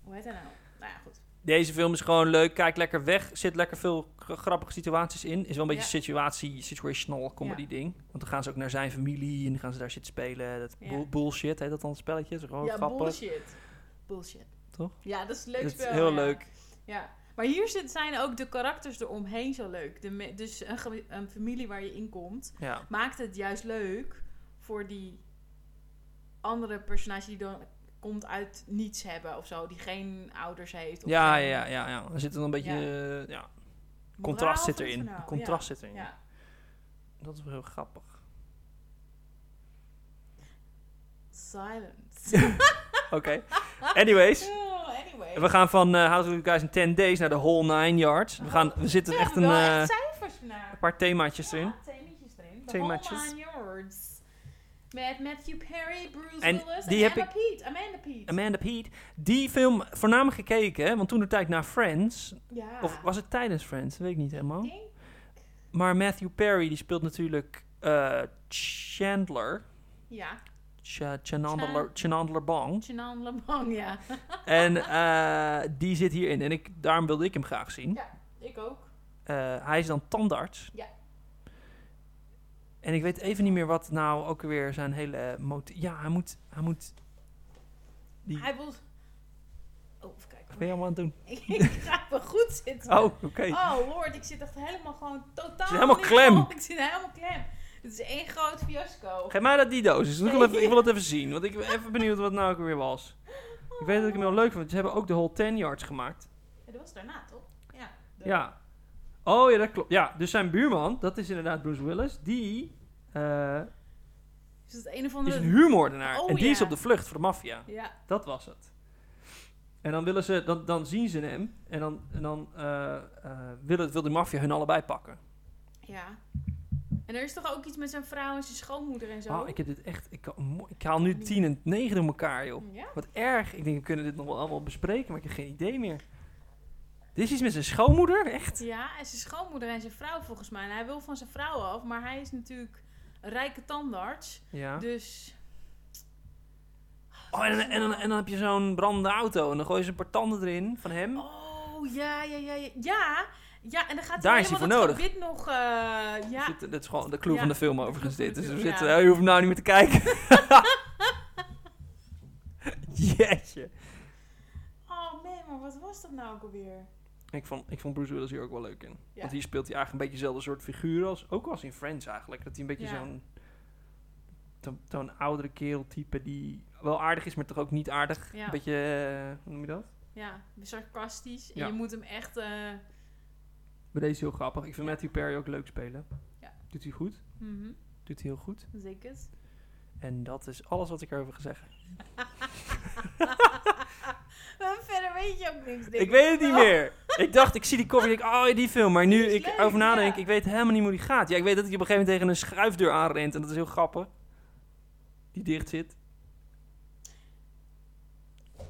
A: Hoe heet hij nou? Nou ja, goed.
B: Deze film is gewoon leuk. Kijk lekker weg. Zit lekker veel gra- grappige situaties in. Is wel een beetje
A: Ja.
B: situatie, situational comedy
A: Ja.
B: ding. Want dan gaan ze ook naar zijn familie en dan gaan ze daar zitten spelen. Dat
A: Ja.
B: bull- bullshit heet dat dan, spelletjes. Gewoon
A: ja,
B: Oh, grappig.
A: bullshit. Bullshit.
B: Toch?
A: Ja, dat is een leuk
B: Dat is
A: spel.
B: heel
A: ja.
B: leuk.
A: Ja, maar hier zit- zijn ook de karakters eromheen zo leuk. De me- dus een, ge- een familie waar je in komt,
B: Ja.
A: maakt het juist leuk voor die andere personage die dan komt uit niets hebben of zo. Die geen ouders heeft. Of
B: Ja,
A: geen
B: ja, ja, ja. Er zit dan een beetje...
A: Ja.
B: eh, ja.
A: moraal
B: Contrast zit
A: van het
B: erin.
A: verhaal.
B: Contrast zit
A: Ja,
B: erin.
A: ja.
B: Dat is wel heel grappig.
A: Silence.
B: Oké. Anyways.
A: Oh, anyway.
B: We gaan van eh How to Lose Guys in 10 Days naar de Whole Nine Yards. We, gaan, we zitten
A: We
B: echt een
A: hebben wel
B: eh,
A: echt cijfers na.
B: een paar themaatjes erin.
A: Ja, themaatjes erin.
B: Themaatjes.
A: Themaatjes. Met Matthew Perry, Bruce
B: En
A: Willis
B: die
A: en
B: heb
A: Emma Pete. Amanda Pete.
B: Amanda Pete. Die film voornamelijk gekeken, hè, want toen de tijd naar Friends.
A: ja.
B: Of was het tijdens Friends? Dat weet ik niet helemaal.
A: Denk-
B: Maar Matthew Perry die speelt natuurlijk eh, Chandler.
A: Ja.
B: Cha- Chandler- Chandler Bong.
A: Chenan Lamang, ja.
B: En eh, die zit hierin. En ik, daarom wilde ik hem graag zien.
A: Ik ook.
B: Eh, hij is dan tandarts.
A: Ja.
B: En ik weet even niet meer wat nou ook weer zijn hele motie... Ja, hij moet... Hij moet... Die...
A: Hij wil... Oh, even kijken.
B: Wat ben je allemaal aan het doen?
A: ik ga wel goed zitten.
B: Oh, oké.
A: Oh, lord, ik zit echt helemaal gewoon totaal...
B: helemaal
A: niet
B: klem.
A: op. Ik zit helemaal klem. Het is één groot fiasco.
B: Geef mij dat die doos. Dus ik, wil even, ik wil het even zien. Want ik ben even benieuwd wat het nou ook weer was. Ik weet dat ik hem heel leuk vond. Ze hebben ook de Whole 10 Yards gemaakt.
A: Ja, dat was daarna, toch? Ja. de-
B: Ja. Oh ja, dat klopt. Ja, dus zijn buurman, dat is inderdaad Bruce Willis. Die eh,
A: Is het een of
B: is
A: andere...
B: een huurmoordenaar.
A: Oh,
B: en die is
A: ja.
B: op de vlucht voor de maffia.
A: Ja.
B: Dat was het. En dan, willen ze, dan, dan zien ze hem. En dan, en dan eh, eh, wil, het, wil de maffia hun allebei pakken.
A: Ja. En er is toch ook iets met zijn vrouw en zijn schoonmoeder en zo?
B: Oh, ik heb dit echt... Ik, kan- mo- ik haal nu 10 en 9 door elkaar, joh.
A: Ja?
B: Wat erg. Ik denk, we kunnen dit nog wel allemaal bespreken, maar ik heb geen idee meer. Dit is iets met zijn schoonmoeder, echt?
A: Ja, en zijn schoonmoeder en zijn vrouw volgens mij. En hij wil van zijn vrouw af, maar hij is natuurlijk een rijke tandarts.
B: Ja.
A: Dus
B: Oh, en, dan- en, dan- en dan heb je zo'n brandende auto en dan gooi je een paar tanden erin van hem.
A: Oh, ja, ja, ja, ja. Ja, ja en dan gaat
B: Daar
A: hij
B: is hij
A: helemaal
B: voor
A: dat
B: nodig.
A: gebied nog... eh, ja.
B: Zit- dat is gewoon de clue
A: Ja,
B: van de film
A: de
B: overigens
A: clue
B: dit.
A: van
B: Dus
A: de
B: we
A: film,
B: zitten,
A: ja.
B: je hoeft nou niet meer te kijken. Jeetje.
A: Oh man, maar wat was dat nou ook alweer?
B: Ik vond, ik vond Bruce Willis hier ook wel leuk in.
A: Ja.
B: Want hier speelt hij eigenlijk een beetje dezelfde soort figuur als... Ook als in Friends eigenlijk. Dat hij een beetje
A: Ja.
B: zo'n... zo- Zo'n oudere kerel type die wel aardig is, maar toch ook niet aardig.
A: Ja.
B: Een beetje... eh, hoe noem je dat?
A: Ja, sarcastisch. En
B: Ja.
A: je moet hem echt... eh,
B: Maar deze is heel grappig. Ik vind Matthew Perry ook leuk spelen.
A: Ja.
B: Doet hij goed.
A: mhm,
B: Doet hij heel goed.
A: zeker. het.
B: En dat is alles wat ik erover ga zeggen.
A: Maar Verder weet je ook niks. denk
B: Ik weet het niet
A: Oh,
B: meer. Ik dacht, ik zie die cover en ik denk, oh ja, die film. Maar nu
A: Die is
B: ik
A: leuk,
B: over nadenk,
A: ja.
B: ik weet helemaal niet hoe die gaat. Ja, ik weet dat hij op een gegeven moment tegen een schuifdeur aanrent. En dat is heel grappig. Die dicht zit.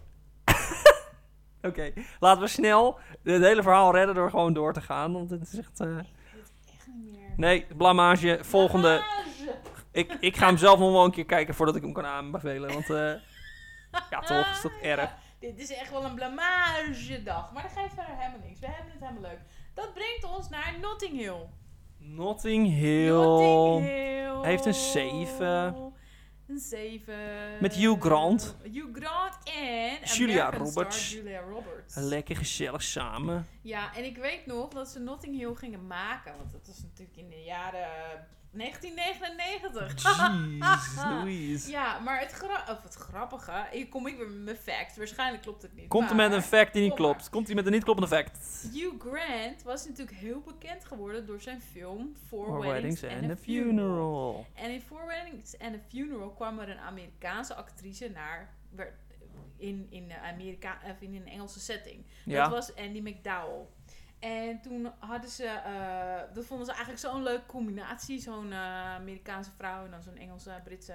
B: Oké, laten we snel het hele verhaal redden door gewoon door te gaan. Want het is echt... eh,
A: Ik weet het echt niet meer.
B: Nee, blamage. Volgende.
A: Lavage.
B: Ik, ik ga hem zelf nog wel een keer kijken voordat ik hem kan aanbevelen. Want eh, ja, Ah, toch is dat erg.
A: Ah, Ja, dit is echt wel een blamagedag. Maar dat geeft verder helemaal niks. We hebben het helemaal leuk. Dat brengt ons naar Notting Hill.
B: Notting Hill.
A: Notting Hill.
B: Hij heeft een zeven.
A: Een 7.
B: Met Hugh Grant.
A: Hugh Grant en
B: Julia
A: American star
B: Roberts.
A: Julia Roberts.
B: Lekker gezellig samen.
A: Ja, en ik weet nog dat ze Notting Hill gingen maken. Want dat was natuurlijk in de jaren 1999.
B: Jeez, Louise.
A: Ja, maar het, gra- of het grappige, hier kom ik weer met mijn fact. Waarschijnlijk klopt het niet.
B: Komt er
A: maar-
B: met een fact die niet
A: Kom maar.
B: klopt. Komt hij met een niet kloppende fact.
A: Hugh Grant was natuurlijk heel bekend geworden door zijn film Four,
B: Or
A: Weddings,
B: weddings and a
A: funeral.
B: funeral.
A: En in Four Weddings and a Funeral kwam er een Amerikaanse actrice naar. werd- In, in, eh, Amerika, of in een Engelse setting. Dat
B: Ja.
A: was Andy McDowell. En toen hadden ze, eh, dat vonden ze eigenlijk zo'n leuke combinatie. Zo'n eh, Amerikaanse vrouw en dan zo'n Engelse, Britse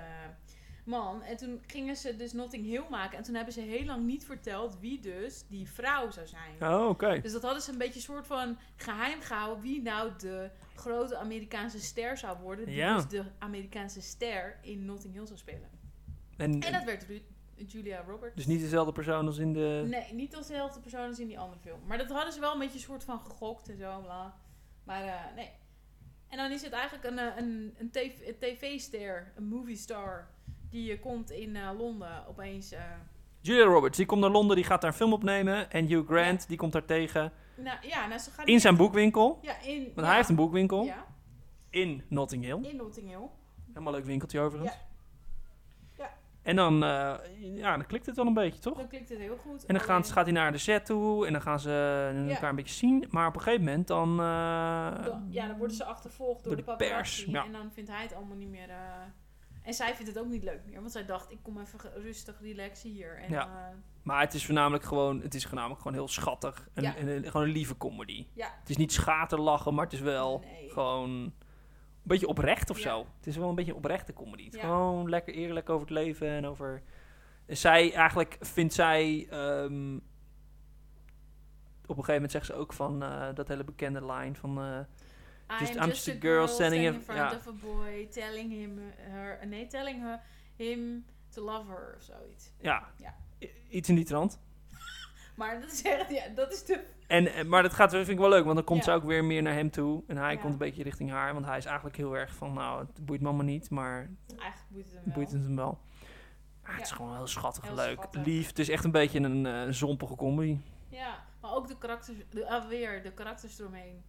A: man. En toen gingen ze dus Notting Hill maken. En toen hebben ze heel lang niet verteld wie dus die vrouw zou zijn.
B: Oh, oké.
A: Dus dat hadden ze een beetje soort van geheim gehouden wie nou de grote Amerikaanse ster zou worden. Die
B: Ja.
A: dus de Amerikaanse ster in Notting Hill zou spelen.
B: En,
A: En dat werd Ru- Julia Roberts.
B: dus niet eh, dezelfde persoon als in de...
A: Nee, niet als dezelfde persoon als in die andere film. Maar dat hadden ze wel een beetje soort van gegokt en zo. Bla. Maar eh, nee. En dan is het eigenlijk een, eh, een, een tv- een tv-ster, een movie star, die eh, komt in eh, Londen opeens. eh,
B: Julia Roberts, die komt naar Londen, die gaat daar een film opnemen. En Hugh Grant, die komt daar tegen.
A: nou, ja, nou, ze gaat
B: In zijn boekwinkel. Want
A: Ja, in, ja,
B: hij heeft een boekwinkel.
A: Ja,
B: In Notting Hill.
A: in Notting Hill.
B: Helemaal leuk winkeltje overigens.
A: Ja. Ja.
B: En dan, eh, ja, dan klikt het wel een beetje, toch?
A: Dan klikt het heel goed.
B: En dan gaan,
A: Alleen-
B: gaat hij naar de set toe en dan gaan ze eh,
A: Ja.
B: elkaar een beetje zien. Maar op een gegeven moment dan... eh,
A: Dan- ja, dan worden ze achtervolgd door,
B: door
A: de
B: de pers,
A: paparazzi.
B: ja.
A: En dan vindt hij het allemaal niet meer... eh, en zij vindt het ook niet leuk meer. Want zij dacht, ik kom even ge- rustig relaxen hier. En,
B: Ja.
A: eh,
B: Maar het is voornamelijk gewoon, het is voornamelijk gewoon heel schattig. En,
A: Ja.
B: en, en gewoon een lieve comedy.
A: Ja.
B: Het is niet schaterlachen, maar het is wel
A: Nee.
B: gewoon een beetje oprecht of
A: Ja.
B: zo. Het is wel een beetje een oprechte comedy. Het is
A: Ja.
B: Gewoon lekker eerlijk over het leven en over... En zij eigenlijk vindt zij... ehm, op een gegeven moment zegt ze ook van eh, dat hele bekende line van... eh,
A: I
B: Just-
A: am just a girl standing in front
B: ja.
A: of a boy, telling him, her, nee, telling her him to love her of zoiets.
B: Ja.
A: Ja.
B: I- Iets in die trant.
A: Maar dat is echt, ja, dat is de...
B: En, eh, maar dat gaat, vind ik wel leuk, want dan
A: Ja.
B: komt ze ook weer meer naar hem toe. En hij
A: Ja.
B: komt een beetje richting haar, want hij is eigenlijk heel erg van, nou, het boeit mama niet, maar
A: Eigenlijk moet het hem
B: het
A: wel.
B: boeit het hem wel. Ah, het is
A: Ja.
B: gewoon heel schattig,
A: Heel
B: leuk,
A: schattig.
B: lief. Het is echt een beetje een eh, zompige comedy.
A: Ja, maar ook de karakters, de, ah, weer de karakters eromheen.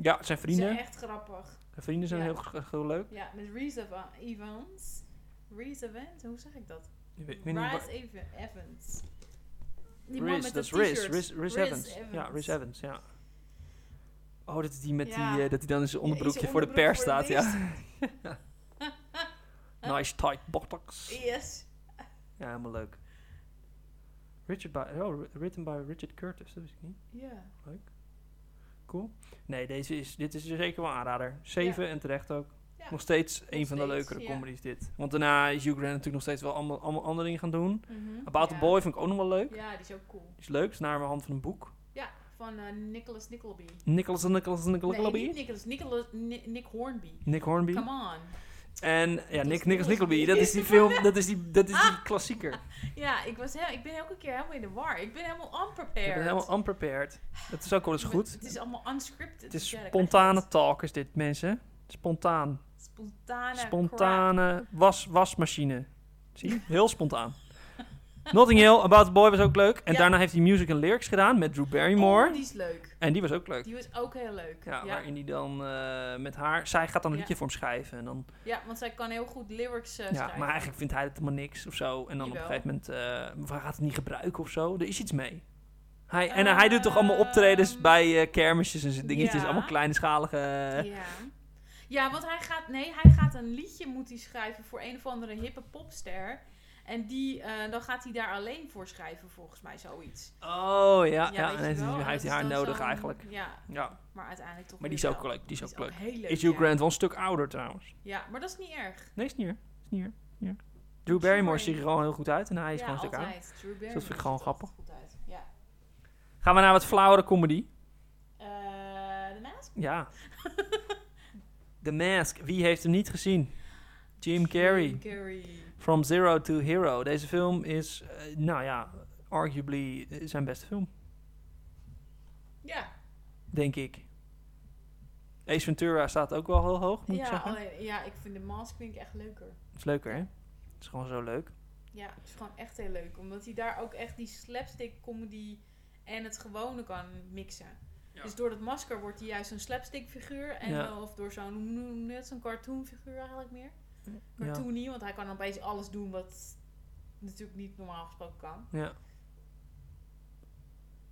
B: Ja, het zijn
A: Die
B: vrienden.
A: zijn echt grappig.
B: Zijn vrienden zijn
A: Ja.
B: heel, g- heel leuk.
A: Ja, met Reese Eva- Evans. Reese Evans, hoe zeg ik dat?
B: Ik weet- ik weet niet waar-
A: Reese Eva- Evans. Die man
B: Riz,
A: met
B: dat
A: dat
B: is Riz,
A: t-shirt.
B: Riz, Riz
A: Riz
B: Evans.
A: Evans.
B: Ja, Riz Evans, ja. Oh, dat is die met
A: Ja.
B: die, eh, dat hij dan in zijn onderbroekje
A: zijn
B: voor de
A: onderbroek
B: pers
A: voor de
B: staat, ja. nice tight buttocks.
A: Yes.
B: Ja, helemaal leuk. Richard by, oh, ri- written by Richard Curtis, dat wist ik niet.
A: Ja.
B: Cool. Nee, deze is, dit is zeker wel een aanrader. Zeven en terecht ook.
A: Ja.
B: Nog steeds een van de
A: steeds,
B: leukere
A: ja.
B: comedies dit. Want daarna is Hugh Grant natuurlijk nog steeds wel allemaal, allemaal andere dingen gaan doen.
A: Mhm.
B: About
A: Ja.
B: the Boy vind ik ook nog wel leuk.
A: Ja, die is ook cool.
B: Is leuk, is naar mijn hand van een boek.
A: Ja, van eh, Nicholas Nickleby.
B: Nicholas en Nicholas en Nicholas
A: Nee, niet Nicholas. Nicholas, Ni- Nick Hornby.
B: Nick Hornby.
A: Come on.
B: En ja, Nick,
A: Nicholas
B: Nicholas Nickleby,
A: Nickleby.
B: dat is die film, dat is die, dat is die klassieker.
A: Ja, ik, was heel, ik ben elke keer helemaal in de war. Ik ben helemaal
B: Ik
A: unprepared.
B: ben helemaal unprepared. Dat is ook wel eens goed.
A: Het is allemaal unscripted.
B: Het is
A: Ja, dat
B: spontane
A: krijg
B: talk is dit, mensen. Spontaan.
A: je niet. Spontane. crap.
B: Spontane was, wasmachine. Zie je? Heel spontaan. Notting Hill, About the Boy was ook leuk. En
A: Ja.
B: daarna heeft hij Music and Lyrics gedaan met Drew Barrymore.
A: Oh, die is leuk.
B: En die was ook leuk.
A: Die was ook heel leuk.
B: Ja,
A: Ja, ja.
B: waarin hij dan eh, met haar... Zij gaat dan een
A: Ja.
B: liedje voor hem schrijven. En dan,
A: want zij kan heel goed lyrics eh,
B: ja,
A: schrijven.
B: maar eigenlijk vindt hij het helemaal niks of zo. En dan op een
A: Jawel.
B: gegeven moment... eh, of hij gaat het niet gebruiken of zo. Er is iets mee. Hij, en hij doet toch allemaal optredens
A: Ehm,
B: bij eh, kermisjes en zo dingetjes.
A: Ah. ja.
B: Allemaal kleinschalige...
A: Ja. Ja, want hij gaat, nee, hij gaat een liedje moet hij schrijven voor een of andere hippe popster. En die, eh, dan gaat hij daar alleen voor schrijven, volgens mij, zoiets.
B: Oh, ja. ja,
A: weet
B: en
A: je
B: hij heeft-
A: wel? Dus
B: hij
A: Dat
B: heeft
A: is
B: haar
A: dan
B: nodig
A: zo'n-
B: eigenlijk.
A: Ja,
B: Ja.
A: maar uiteindelijk toch
B: Maar die
A: weer
B: is ook
A: wel.
B: leuk, die is ook leuk.
A: heel leuk,
B: Is Hugh
A: ja.
B: Grant wel een stuk ouder trouwens?
A: Ja, maar dat is niet erg.
B: Nee, is niet meer. Is niet meer. Ja. Drew Barrymore ziet er gewoon heel goed uit en hij is
A: ja,
B: gewoon een stuk ouder. Dus
A: altijd. Drew Barrymore
B: vind ik gewoon
A: ziet er altijd
B: grappig.
A: Goed uit. Ja.
B: Gaan we naar wat flauwere comedy?
A: Eh, de naast?
B: Ja. The Mask. Wie heeft hem niet gezien? Jim Carrey.
A: Carrey.
B: From Zero to Hero. Deze film is, eh, nou ja, arguably eh, zijn beste film,
A: Ja,
B: denk ik. Ace Ventura staat ook wel heel hoog, moet ik
A: ja,
B: zeggen.
A: alleen, ja, ik vind de mask vind ik echt leuker.
B: is leuker, hè? is gewoon zo leuk.
A: Ja, het is gewoon echt heel leuk. Omdat hij daar ook echt die slapstick comedy en het gewone kan mixen.
B: Ja.
A: Dus door dat masker wordt hij juist een slapstick figuur. En,
B: Ja.
A: Of door zo'n, hoe noem je dat, zo'n cartoon figuur eigenlijk meer.
B: Ja.
A: Cartoony, want hij kan opeens alles doen wat natuurlijk niet normaal gesproken kan.
B: Ja.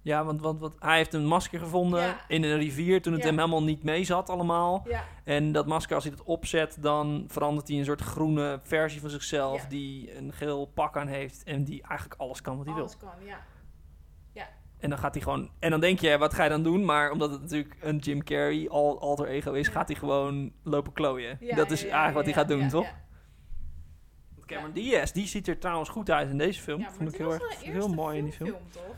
B: Ja, want, want, want hij heeft een masker gevonden
A: Ja.
B: in een rivier toen het
A: Ja.
B: hem helemaal niet mee zat allemaal.
A: Ja,
B: En dat masker, als hij dat opzet, dan verandert hij in een soort groene versie van zichzelf
A: Ja.
B: die een geel pak aan heeft en die eigenlijk alles kan wat hij wil.
A: alles kan, ja.
B: En dan gaat hij gewoon... En dan denk je, wat ga je dan doen? Maar omdat het natuurlijk een Jim Carrey al alter ego is,
A: Ja.
B: gaat hij gewoon lopen klooien.
A: Ja,
B: dat is
A: ja, ja,
B: eigenlijk wat
A: ja,
B: hij gaat
A: ja,
B: doen,
A: ja,
B: toch?
A: ja.
B: Want Cameron Diaz, die ziet er trouwens goed uit in deze film.
A: Ja, maar
B: Vond ik
A: dit
B: heel
A: was
B: erg
A: wel de
B: heel
A: eerste
B: mooi in die film.
A: filmfilm, toch?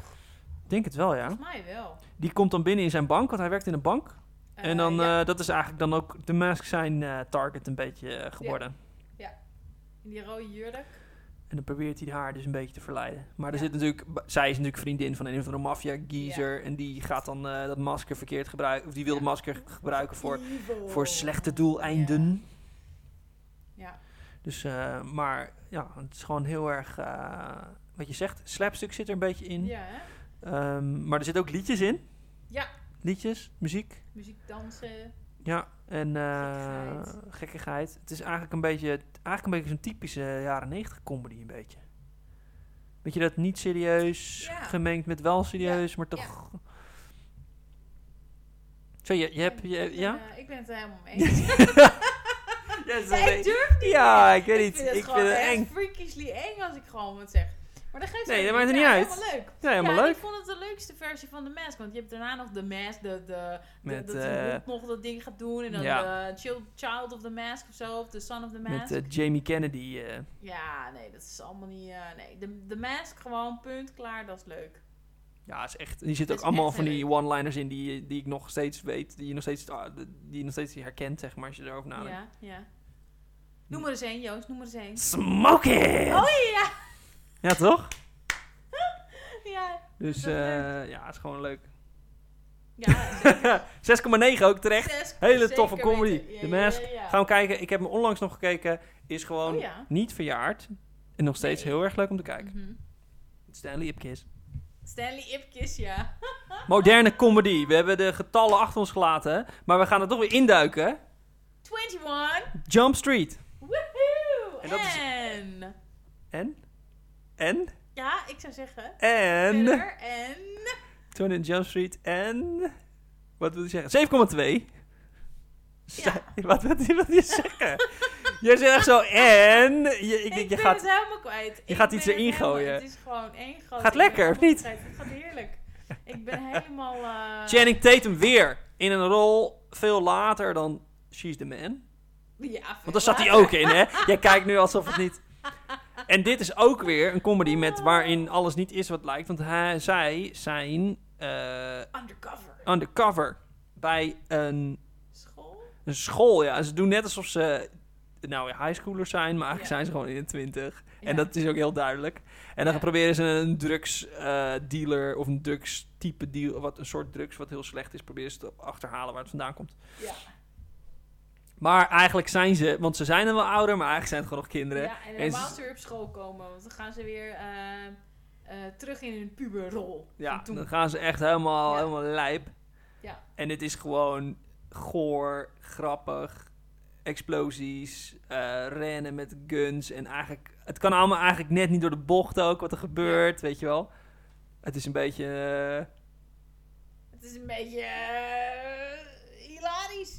B: Ik denk het wel, ja.
A: Volgens mij wel.
B: Die komt dan binnen in zijn bank, want hij werkt in een bank.
A: Eh,
B: En dan,
A: ja,
B: eh, dat is eigenlijk dan ook de Mask zijn eh, target een beetje eh, geworden.
A: in die rode jurk.
B: En dan probeert hij haar dus een beetje te verleiden. Maar er
A: Ja.
B: zit natuurlijk, b- zij is natuurlijk vriendin van een of andere maffia-geezer. En die gaat dan eh, dat masker verkeerd gebruiken. Of die wil
A: Ja. Oh.
B: het masker gebruiken voor,
A: Evil.
B: voor slechte doeleinden.
A: Ja.
B: Dus, eh, maar ja, het is gewoon heel erg, eh, wat je zegt, slapstuk zit er een beetje in.
A: Ja, hè?
B: Ehm, maar er zitten ook liedjes in.
A: Ja.
B: Liedjes, muziek.
A: Muziek, dansen.
B: Ja, en eh,
A: Gekkigheid.
B: gekkigheid. Het is eigenlijk een beetje, eigenlijk een beetje zo'n typische jaren 90 comedy een beetje. Weet je dat niet serieus
A: Ja.
B: gemengd met wel serieus, maar toch. Zo, je, je hebt, je,
A: Ik ben,
B: ja?
A: eh, ik ben het er helemaal mee eens.
B: Ja, zo
A: Nee,
B: weet-
A: ik durf niet.
B: Ja,
A: meer.
B: ik weet niet.
A: vind het
B: Ik
A: gewoon
B: vind het
A: echt
B: eng.
A: freakishly eng als ik gewoon wat zeg. Maar dat geeft
B: Nee,
A: ook
B: dat maakt
A: Ja,
B: er niet uit.
A: Helemaal leuk.
B: Ja, helemaal
A: ja,
B: leuk.
A: ik vond het de leukste versie van de mask. Want je hebt daarna nog de mask, de, de, de-
B: Met,
A: dat de
B: eh,
A: hond nog dat ding gaat doen. En dan
B: ja.
A: de child, child of the mask of zo, of the son of the mask.
B: Met eh, Jamie Kennedy. eh.
A: Ja, nee, dat is allemaal niet... eh, nee, de, de mask gewoon, punt, klaar, dat is leuk.
B: ja, is echt. Die zit
A: Dat
B: ook
A: is
B: allemaal
A: echt
B: van
A: heel
B: die one-liners in die, die ik nog Nou, steeds weet. Die je nog steeds, ah, die je nog steeds herkent, zeg maar, als je erover nadenkt.
A: Ja, ja. Noem er eens één, Joost. Noem er eens één.
B: Smoking!
A: Oh ja!
B: Ja, toch?
A: Ja,
B: Dus
A: Dat is
B: eh, ja, het is gewoon leuk.
A: ja
B: 6,9 ook terecht.
A: zes-
B: Hele
A: zeker
B: toffe
A: weten.
B: comedy.
A: Ja,
B: The
A: ja, ja,
B: Mask.
A: ja.
B: Gaan we kijken. Ik heb hem onlangs nog gekeken. Is gewoon
A: Oh ja.
B: niet verjaard. En nog steeds
A: Nee.
B: heel erg leuk om te kijken.
A: Mhm.
B: Stanley Ipkiss.
A: Stanley Ipkiss, ja.
B: Moderne comedy. We hebben de getallen achter ons gelaten. Maar we gaan er toch weer induiken.
A: 21.
B: Jump Street.
A: Woehoe!
B: En dat is-
A: En...
B: En? En?
A: Ja, ik zou zeggen...
B: En?
A: verder En...
B: Toen in Jump Street. En? Wat wil je zeggen? 7,2. Sta- Wat wil je, wat wil je zeggen? Jij zegt echt zo en. Je, ik
A: Ik,
B: denk, je
A: ben
B: gaat
A: het helemaal kwijt. Je
B: gaat iets erin gooien.
A: Het is gewoon één groot...
B: Gaat lekker, of niet?
A: Het gaat heerlijk. Ik ben helemaal... eh,
B: Channing Tatum weer in een rol veel later dan She's the Man.
A: Ja,
B: Want daar zat hij ook in, hè? Jij kijkt nu alsof het niet. En dit is ook weer een comedy met waarin alles niet is wat lijkt. Want hij, zij zijn eh,
A: Undercover.
B: undercover bij een,
A: School?
B: een school. Ja, en ze doen net alsof ze nou highschoolers zijn, maar eigenlijk
A: Ja.
B: zijn ze gewoon in de twintig.
A: Ja.
B: En dat is ook heel duidelijk. En dan
A: Ja.
B: proberen ze een drugsdealer dealer of een drugstype deal, wat een soort drugs wat heel slecht is, proberen ze te achterhalen waar het vandaan komt.
A: Ja.
B: Maar eigenlijk zijn ze, want ze zijn dan wel ouder, maar eigenlijk zijn het gewoon nog kinderen.
A: Ja, en
B: En ze-
A: helemaal als ze weer op school komen. Want dan gaan ze weer eh, eh, terug in hun puberrol.
B: Ja,
A: Van toen.
B: dan gaan ze echt helemaal,
A: Ja.
B: helemaal lijp.
A: Ja.
B: En het is gewoon goor, grappig, explosies, eh, rennen met guns. En eigenlijk, het kan allemaal eigenlijk net niet door de bocht ook, wat er gebeurt, weet je wel. Het is een beetje... eh,
A: Het is een beetje... eh, hilarisch.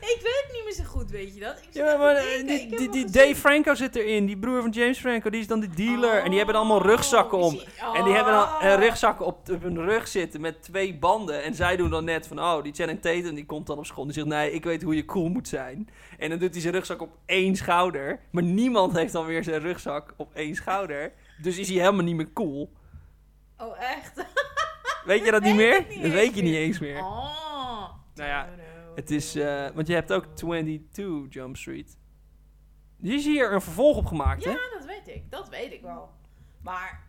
A: ik weet het niet meer zo goed, weet je dat? Ik zit
B: ja,
A: even
B: maar
A: te
B: eh,
A: denken. Ik
B: die,
A: heb
B: die,
A: hem
B: die
A: gezien.
B: Dave Franco zit erin, die broer van James Franco, die is dan die dealer. En die hebben dan allemaal
A: Oh,
B: rugzakken om.
A: is die-
B: En die hebben dan
A: Oh.
B: eh, rugzakken op, op hun rug zitten met twee banden. En zij doen dan net van, oh, die Channing Tatum die komt dan op school. En die zegt, nee, ik weet hoe je cool moet zijn. En dan doet hij zijn rugzak op één schouder. Maar niemand heeft dan weer zijn rugzak op één schouder. Dus is hij helemaal niet meer cool.
A: Oh, echt?
B: Weet je dat
A: Dat
B: niet
A: weet
B: meer?
A: ik niet
B: dat
A: eens
B: weet je niet
A: meer.
B: eens meer.
A: Oh.
B: Nou ja, Het is, eh, want je hebt ook 22 Jump Street. Die is hier een vervolg op gemaakt, hè?
A: Ja, dat weet ik. Dat weet ik wel. Maar...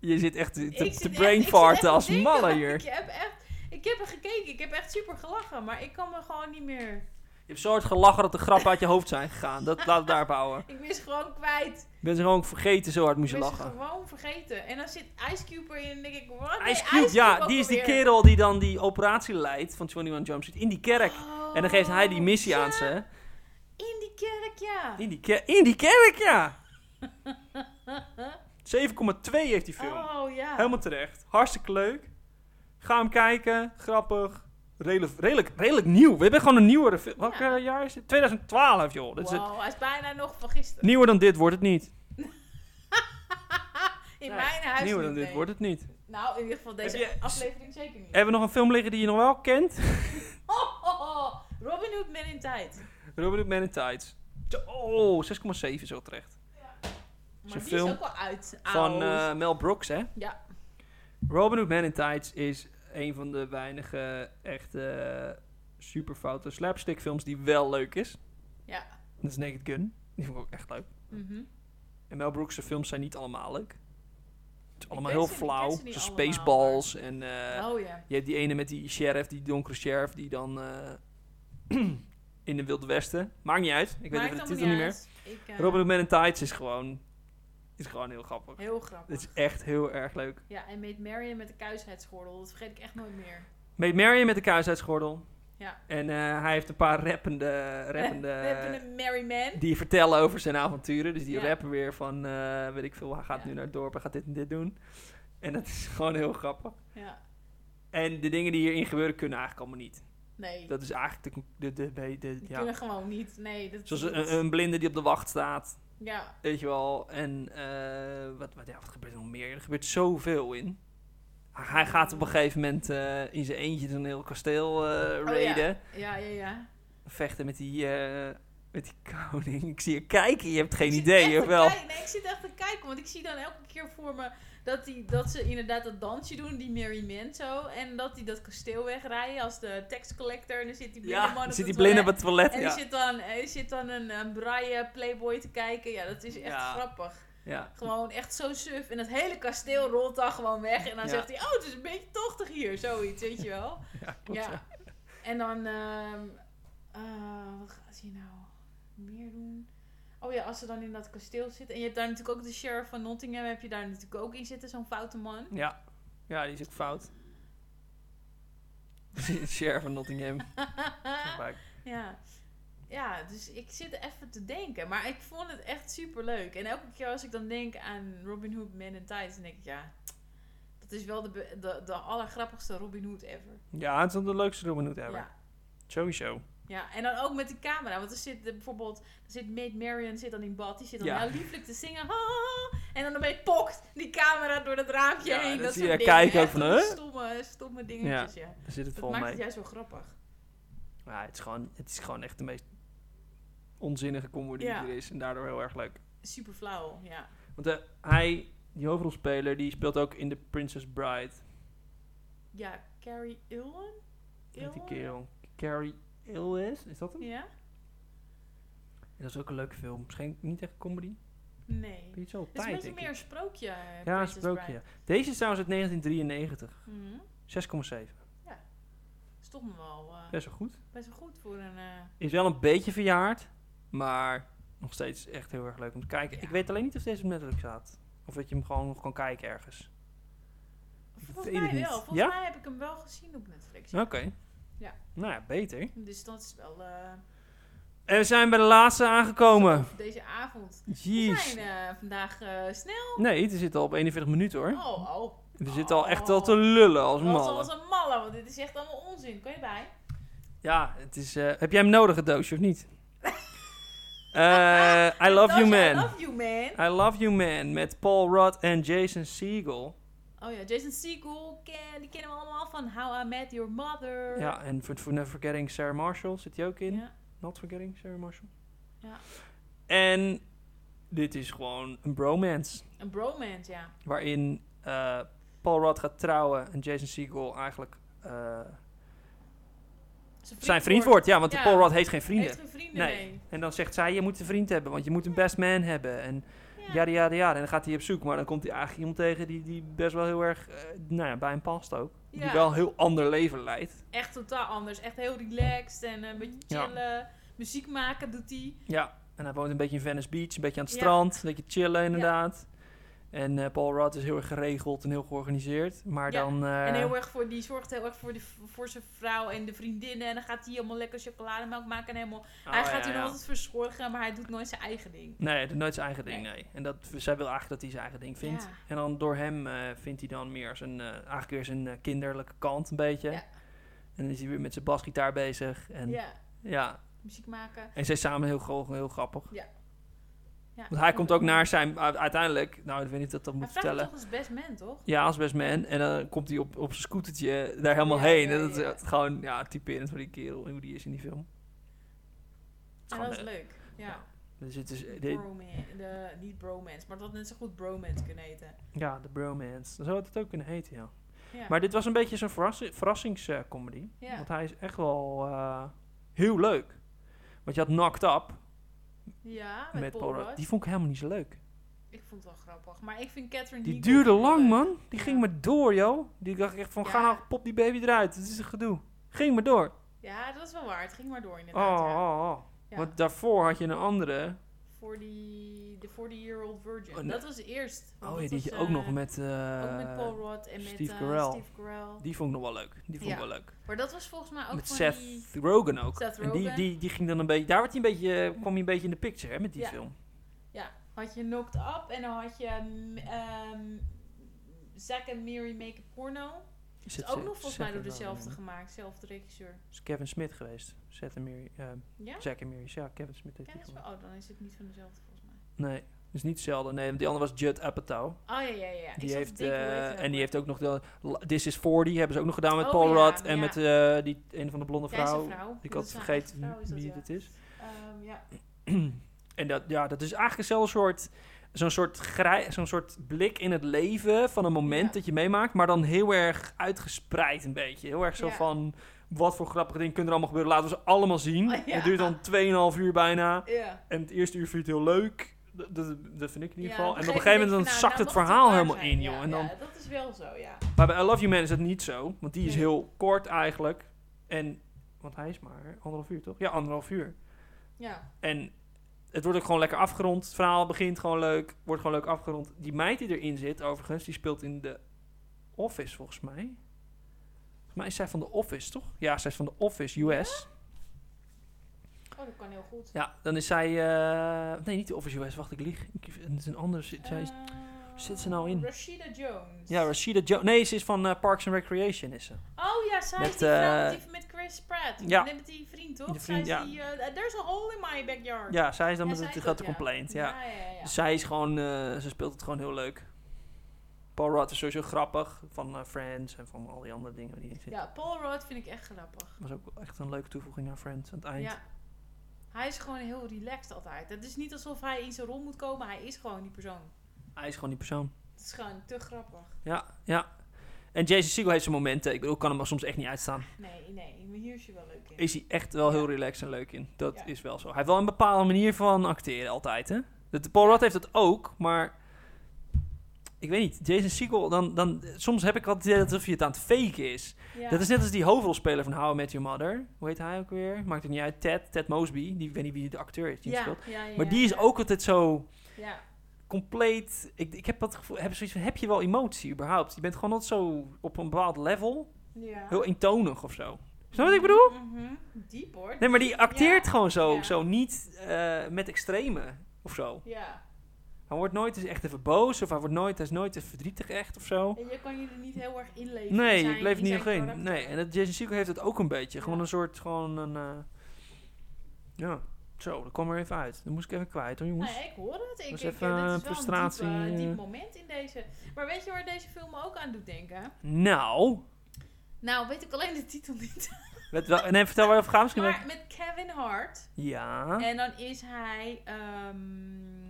B: Je zit echt te,
A: ik
B: te,
A: zit
B: te
A: echt- ik zit echt
B: brainfarten
A: te
B: als
A: denken,
B: malle
A: want
B: hier.
A: Ik heb echt... Ik heb er gekeken. Ik heb echt super gelachen. Maar ik kan me gewoon niet meer...
B: Je hebt zo hard gelachen dat de grappen uit je hoofd zijn gegaan. Dat laat het daarop houden.
A: Ik ben ze gewoon kwijt.
B: Ik ben ze gewoon vergeten, zo hard moest je
A: Ik ben ze
B: lachen.
A: gewoon vergeten. En dan zit Ice Cube erin en denk ik... Wat? Nee,
B: Ice Cube, ja, die is die
A: alweer.
B: kerel die dan die operatie leidt van 21 Jump Street in die kerk. En dan geeft hij die missie
A: Oh,
B: aan
A: ja,
B: ze.
A: In die kerk, ja.
B: In die, ker- in die kerk, ja! 7,2 heeft die film.
A: Oh, ja.
B: Helemaal terecht. Hartstikke leuk. Ga hem kijken. Grappig. Redelijk, redelijk, redelijk nieuw. We hebben gewoon een nieuwere film. Welk
A: Ja.
B: eh, jaar is dit? 2012, joh. Dit is het-
A: Wow, hij is bijna nog van gisteren.
B: Nieuwer dan dit wordt het niet.
A: In
B: Nee,
A: mijn huis
B: Nieuwer
A: niet,
B: dan dit
A: nee.
B: wordt het niet.
A: Nou, in ieder geval deze
B: Heb je-
A: aflevering zeker niet.
B: Hebben we nog een film liggen die je nog wel kent?
A: Oh, oh, oh. Robin Hood Men in Tijd.
B: Robin Hood Man in Tights. Oh, 6,7 is wel terecht.
A: Maar
B: Zo'n
A: die
B: film
A: is ook wel uit.
B: Van
A: Oud.
B: eh, Mel Brooks, hè?
A: Ja.
B: Robin Hood Man in Tights is een van de weinige echte superfoute slapstick films die wel leuk is.
A: Ja.
B: Dat is Naked Gun. Die vond ik ook echt leuk.
A: Mhm.
B: En Mel Brooks' films zijn niet allemaal leuk. Het is allemaal
A: ken
B: heel
A: ze- ik
B: flauw.
A: ken ze niet
B: Zoals
A: allemaal,
B: Spaceballs en... eh,
A: oh ja.
B: Je hebt die ene met die sheriff, die donkere sheriff, die dan eh, in de Wilde Westen. Maakt niet uit. Ik weet
A: Maakt
B: even de
A: allemaal
B: titel niet meer.
A: uit. Ik, eh,
B: Robin Hood Man in Tights is gewoon, is gewoon heel grappig.
A: Heel grappig.
B: Het is echt heel erg leuk.
A: Ja, en Meet Marion met de kuisheidsgordel. Dat vergeet ik echt nooit meer.
B: Meet Marion met de kuisheidsgordel.
A: Ja.
B: En eh, hij heeft een paar rappende, rappende
A: We hebben een Merry Man.
B: die vertellen over zijn avonturen. Dus die
A: Ja.
B: rappen weer van, eh, weet ik veel, hij gaat
A: Ja.
B: nu naar het dorp, hij gaat dit en dit doen. En dat is gewoon heel grappig.
A: Ja.
B: En de dingen die hierin gebeuren kunnen eigenlijk allemaal niet.
A: Nee.
B: Dat is eigenlijk de... de, de, de- de-
A: die
B: ja.
A: kunnen gewoon niet. Nee, dat is
B: Zoals
A: niet.
B: een, een blinde die op de wacht staat,
A: Ja.
B: weet je wel. En eh, wat, wat, ja, wat gebeurt er nog meer? Er gebeurt zoveel in. Hij gaat op een gegeven moment eh, in zijn eentje zo'n heel kasteel eh
A: Oh, ja.
B: raiden.
A: Ja, ja, ja.
B: Vechten met die, eh, met die koning. Ik zie je kijken, je hebt geen
A: Ik zit
B: idee,
A: echt
B: of
A: te
B: wel?
A: kijk- Nee, ik zit echt te kijken, want ik zie dan elke keer voor me Dat, die, dat ze inderdaad dat dansje doen, die merrimento. En dat die dat kasteel wegrijden als de tax collector. En dan zit die blinde man
B: Ja,
A: op
B: dan
A: het
B: zit die
A: toilet.
B: blind op het toilet.
A: En
B: Ja.
A: er, zit dan, er zit dan een, een braille playboy te kijken. Ja, dat is echt
B: Ja.
A: grappig.
B: Ja.
A: Gewoon echt zo suf. En dat hele kasteel rolt dan gewoon weg. En dan
B: Ja.
A: zegt hij, oh, het is een beetje tochtig hier. Zoiets, weet je wel.
B: Ja, klopt,
A: Ja.
B: ja.
A: En dan, ehm, eh, wat gaat hij nou meer doen? Oh ja, als ze dan in dat kasteel zitten. En je hebt daar natuurlijk ook de sheriff van Nottingham. Heb je daar natuurlijk ook in zitten, zo'n foute man.
B: Ja. Ja, die is ook fout. Sheriff van Nottingham.
A: ja. Ja, dus ik zit even te denken. Maar ik vond het echt super leuk. En elke keer als ik dan denk aan Robin Hood Men in Tights, dan denk ik, ja, dat is wel de, be- de, de allergrappigste Robin Hood ever.
B: Ja, het is wel de leukste Robin Hood ever.
A: Ja.
B: Sowieso.
A: ja, en dan ook met de camera. Want er zit eh, bijvoorbeeld, er zit Maid Marian zit dan in bad. Die zit dan
B: Ja.
A: heel lieflijk te zingen. Ha, ha, ha. en dan opeens pokt die camera door dat raampje
B: Ja,
A: heen.
B: dan
A: Dat
B: zie
A: soort
B: je
A: dingen.
B: kijken ook
A: Echt
B: van,
A: van die
B: huh?
A: Stomme, stomme dingetjes, ja.
B: Daar zit het
A: Dat
B: vol
A: maakt
B: mee.
A: het juist zo grappig.
B: Ja, het, is gewoon, het is gewoon echt de meest onzinnige comedy
A: Ja.
B: die er is. En daardoor heel erg leuk.
A: Super flauw, ja.
B: Want eh, hij, die hoofdrolspeler, die speelt ook in The Princess Bride.
A: Ja, Carrie Illen?
B: Met die
A: Illen?
B: kerel. Carrie Elwes, is dat hem?
A: Ja?
B: En Dat is ook een leuke film. Misschien niet echt comedy.
A: Nee.
B: Ik weet zo,
A: Het is een
B: tijd,
A: beetje
B: denk
A: meer
B: ik.
A: een sprookje. eh,
B: Ja, een sprookje. ja. Deze is trouwens uit 1993.
A: Mhm.
B: 6,7.
A: Stond me wel eh,
B: Best wel goed.
A: best wel goed voor een... eh,
B: Is wel een beetje verjaard, maar nog steeds echt heel erg leuk om te kijken.
A: Ja.
B: Ik weet alleen niet of deze op Netflix staat. Of dat je hem gewoon nog kan kijken ergens.
A: volgens
B: weet het
A: mij
B: niet.
A: wel. Volgens
B: Ja?
A: mij heb ik hem wel gezien op Netflix.
B: Oké.
A: ja. Ja.
B: Nou ja, beter.
A: Dus dat is wel... eh,
B: En we zijn bij de laatste aangekomen.
A: voor deze avond. We
B: Jeez.
A: zijn eh, vandaag eh, snel.
B: Nee, we zitten al op 41 minuten hoor.
A: Oh, oh.
B: We zitten al echt al te lullen als
A: Wat als
B: mannen.
A: een malle, want dit is echt allemaal onzin. Kan je bij?
B: Ja, het is... eh, heb jij hem nodig, het doosje, of niet? Eh, I Love You
A: Natasha, I
B: Man.
A: love you, man.
B: I Love You Man met Paul Rudd en Jason Segel.
A: Oh ja, Jason Segel, ken, die kennen we allemaal van How I Met Your Mother.
B: Ja, en voor, voor Never Forgetting Sarah Marshall zit hij ook in.
A: Ja.
B: Not Forgetting Sarah Marshall.
A: Ja.
B: En dit is gewoon een bromance.
A: Een bromance, ja.
B: Waarin eh, Paul Rudd gaat trouwen en Jason Segel eigenlijk eh, zijn vriend wordt. Ja, want
A: Ja.
B: Paul Rudd heeft geen vrienden.
A: Heeft geen vrienden
B: Nee.
A: mee.
B: En dan zegt zij, je moet een vriend hebben, want je moet een best man hebben. En
A: Ja.
B: jada, jada, jada. En dan gaat hij op zoek, maar dan komt hij eigenlijk iemand tegen die, die best wel heel erg eh, nou ja, bij hem past ook. Die
A: Ja.
B: wel een heel ander leven leidt.
A: Echt totaal anders. Echt heel relaxed en eh, een beetje
B: Ja.
A: chillen. Muziek maken doet hij.
B: Ja, en hij woont een beetje in Venice Beach, een beetje aan het
A: Ja.
B: strand, een beetje chillen inderdaad. En eh, Paul Rudd is heel erg geregeld en heel georganiseerd. Maar
A: Ja,
B: dan... eh,
A: En heel erg voor, die zorgt heel erg voor, de, voor zijn vrouw en de vriendinnen. En dan gaat hij allemaal lekker chocolademelk maken en helemaal...
B: oh,
A: hij gaat
B: ja,
A: hier
B: ja.
A: nog altijd verzorgen, maar hij doet nooit zijn eigen ding.
B: Nee, hij doet nooit zijn eigen ding,
A: Nee.
B: nee. En dat, zij wil eigenlijk dat hij zijn eigen ding vindt.
A: Ja.
B: En dan door hem eh, vindt hij dan meer zijn, eh, eigenlijk weer zijn eh, kinderlijke kant een beetje.
A: Ja.
B: En dan is hij weer met zijn basgitaar bezig. En, ja.
A: Ja, muziek maken.
B: en zij is samen heel, gro- heel grappig.
A: Ja.
B: Want hij komt ook naar zijn, u- uiteindelijk, nou ik weet niet of ik dat
A: Hij
B: moet
A: vraagt
B: vertellen.
A: toch als best man, toch?
B: Ja, als best man. En dan komt hij op, op zijn scootertje daar helemaal
A: Ja,
B: heen.
A: ja,
B: en dat is
A: ja.
B: echt gewoon ja, typerend voor die kerel en hoe die is in die film.
A: En
B: Gewoon,
A: dat is
B: eh,
A: leuk. Ja.
B: Dus het is, de-
A: Bromance. De, niet bromance, maar dat had net zo goed bromance kunnen heten.
B: ja, de bromance. Dan zou het het ook kunnen heten, ja.
A: Ja.
B: Maar dit was een beetje zo'n verrassi- verrassingscomedy.
A: Ja.
B: Want hij is echt wel eh, heel leuk. Want je had Knocked Up
A: ja,
B: met,
A: met,
B: Paul Rudd. Die vond ik helemaal niet zo leuk.
A: Ik vond het wel grappig. Maar ik vind Catherine
B: Die
A: Heigl
B: duurde
A: heel leuk.
B: lang, man. Die
A: Ja.
B: ging maar door, joh. Die dacht echt van, ga
A: Ja.
B: nou, pop die baby eruit. Het is een gedoe. Ging maar door.
A: Ja, dat is wel waar. Het ging maar door
B: Oh,
A: inderdaad. ja.
B: oh, oh.
A: Ja.
B: Want daarvoor had je een andere.
A: Voor die de 40-year-old virgin.
B: Oh, nee.
A: Dat was eerst. want
B: Oh ja,
A: dat
B: die had je
A: was,
B: ook
A: eh,
B: nog met... eh,
A: ook met Paul Rudd en met
B: Steve
A: eh,
B: Carell.
A: Steve Carell.
B: Die vond ik nog wel leuk. Die vond ik
A: Ja.
B: wel leuk.
A: Maar dat was volgens mij ook
B: met
A: van
B: Seth
A: die...
B: Rogen ook.
A: Seth
B: En die,
A: Rogen.
B: die, die ging dan een beetje... Daar werd hij een beetje, eh, kwam hij een beetje in de picture, hè, met die
A: Ja.
B: film.
A: Ja, had je Knocked Up en dan had je mm, ehm Zack en Mary Make a Porno.
B: Is
A: Dat is
B: het
A: ook
B: Seth-
A: nog volgens mij
B: Seth
A: door
B: Rogen?
A: dezelfde gemaakt, dezelfde regisseur.
B: Is Kevin Smith geweest. Seth en Mary... eh,
A: Ja?
B: Zack en Mary. Ja, Kevin Smith heeft
A: Ja,
B: die
A: dat is wel,
B: gemaakt.
A: oh, dan is het niet van dezelfde volgens mij.
B: Nee, dat is niet hetzelfde. Nee, want die andere was Judd Apatow.
A: Oh ja, ja, ja. Ik zat
B: Die
A: te
B: heeft,
A: denken, hoe
B: eh,
A: heet die nou
B: en die
A: ook
B: heeft ook nog de This is 40 hebben ze ook nog gedaan met
A: Oh,
B: Paul
A: ja,
B: Rudd en
A: ja.
B: met eh, die een van de blonde
A: weer? Ja, zijn
B: vrouw.
A: vrouw.
B: Ik
A: Dat
B: had
A: is haar
B: vergeten
A: eigen vrouw, is dat,
B: wie
A: ja.
B: dit is.
A: Ehm, ja.
B: En dat, ja, dat is eigenlijk hetzelfde soort zo'n soort, grij- zo'n soort blik in het leven van een moment
A: Ja.
B: dat je meemaakt, maar dan heel erg uitgespreid een beetje. Heel erg zo
A: Ja.
B: van, wat voor grappige dingen kunnen er allemaal gebeuren, laten we ze allemaal zien.
A: Oh, ja.
B: Het duurt dan 2,5 uur bijna.
A: Ja.
B: En het eerste uur vind je het heel leuk. Dat, dat, dat vind ik in ieder
A: Ja,
B: geval. en op een gegeven moment dan
A: denk je,
B: zakt
A: nou,
B: het
A: nou mag
B: verhaal
A: waar
B: helemaal
A: zijn.
B: in,
A: Ja,
B: joh. En dan,
A: Ja, dat is wel zo, ja.
B: Maar bij I Love You Man is dat niet zo. Want die is
A: Nee.
B: heel kort eigenlijk. En, want hij is maar anderhalf uur, toch? Ja, anderhalf uur.
A: Ja.
B: En het wordt ook gewoon lekker afgerond. Het verhaal begint gewoon leuk. Wordt gewoon leuk afgerond. Die meid die erin zit, overigens, die speelt in The Office, volgens mij. Volgens mij is zij van The Office, toch? Ja, zij is van The Office, US.
A: Oh, dat kan heel goed.
B: Ja, dan is zij... eh, nee, niet The Office, US. Wacht, ik lieg. Ik, het is een ander... Zij is
A: Eh,
B: zit ze nou in?
A: Rashida Jones.
B: Ja, Rashida Jones. Nee, ze is van eh, Parks and Recreation, is ze.
A: Oh ja, zij
B: Met,
A: is die vrouw
B: eh,
A: met, die- met Chris Pratt.
B: ja.
A: Met die vriend, toch?
B: Die vriend,
A: zij
B: ja.
A: is die, eh, there's a hole in my backyard.
B: Ja, zij is dan
A: Ja,
B: met
A: zij
B: het
A: is
B: grote
A: dat,
B: complaint, ja.
A: Ja, ja, ja.
B: Dus zij is gewoon... eh, ze speelt het gewoon heel leuk. Paul Rudd is sowieso grappig. Van eh, Friends en van al die andere dingen die in zitten.
A: Ja, Paul Rudd vind ik echt grappig.
B: was ook wel echt een leuke toevoeging aan Friends aan het eind.
A: Ja. Hij is gewoon heel relaxed altijd. Het is niet alsof hij in zijn rol moet komen. Hij is gewoon die persoon.
B: Hij is gewoon die persoon.
A: Het is gewoon te grappig.
B: Ja, ja. En Jason Segel heeft zijn momenten. Ik bedoel, ik kan hem soms echt niet uitstaan.
A: Nee, nee. Maar hier is je wel leuk in.
B: Is hij echt wel heel
A: Ja.
B: relaxed en leuk in. Dat
A: Ja.
B: is wel zo. Hij heeft wel een bepaalde manier van acteren altijd, hè. Dat, Paul Rudd heeft dat ook, maar... Ik weet niet, Jason Segel, dan, dan, soms heb ik altijd het idee alsof je het aan het faken is.
A: Ja.
B: Dat is net als die hoofdrolspeler van How I Met Your Mother. Hoe heet hij ook weer? Maakt het niet uit. Ted, Ted Mosby. Die, ik weet niet wie de acteur is die
A: ja,
B: hem speelt.
A: ja, ja,
B: Maar
A: ja,
B: die is
A: ja.
B: ook altijd zo...
A: Ja.
B: compleet. Ik, ik heb dat gevoel. Heb zoiets van, heb je wel emotie überhaupt? Je bent gewoon altijd zo op een bepaald level.
A: ja.
B: Heel eentonig of zo. Snap je wat ik bedoel?
A: Mhm. Diep hoor.
B: Nee, maar die acteert
A: Ja.
B: gewoon zo.
A: Ja.
B: Zo niet eh, met extreme of zo.
A: Ja.
B: Hij wordt nooit eens echt even boos. Of hij, wordt nooit, hij is nooit even verdrietig echt of zo.
A: En je kan je er niet heel erg inleven.
B: Nee,
A: in zijn-
B: ik leef
A: in
B: niet
A: zijn
B: echt in.
A: karakter.
B: Nee, en dat Jason Segel heeft het ook een beetje. Gewoon
A: Ja.
B: een soort, gewoon een... eh, ja, zo, dat kwam er even uit. Dat moest ik even kwijt hoor, jongens.
A: Nee, ik hoor het. Ik,
B: Dat is
A: ik,
B: even
A: eh,
B: een
A: dit is
B: frustratie,
A: Wel een diep, eh,
B: eh.
A: diep moment in deze. Maar weet je waar deze film me ook aan doet denken?
B: Nou,
A: Nou, weet ik alleen de titel niet.
B: weet wel, nee, vertel waar je over gaat misschien. wel-
A: Maar met Kevin Hart.
B: Ja,
A: En dan is hij. ehm,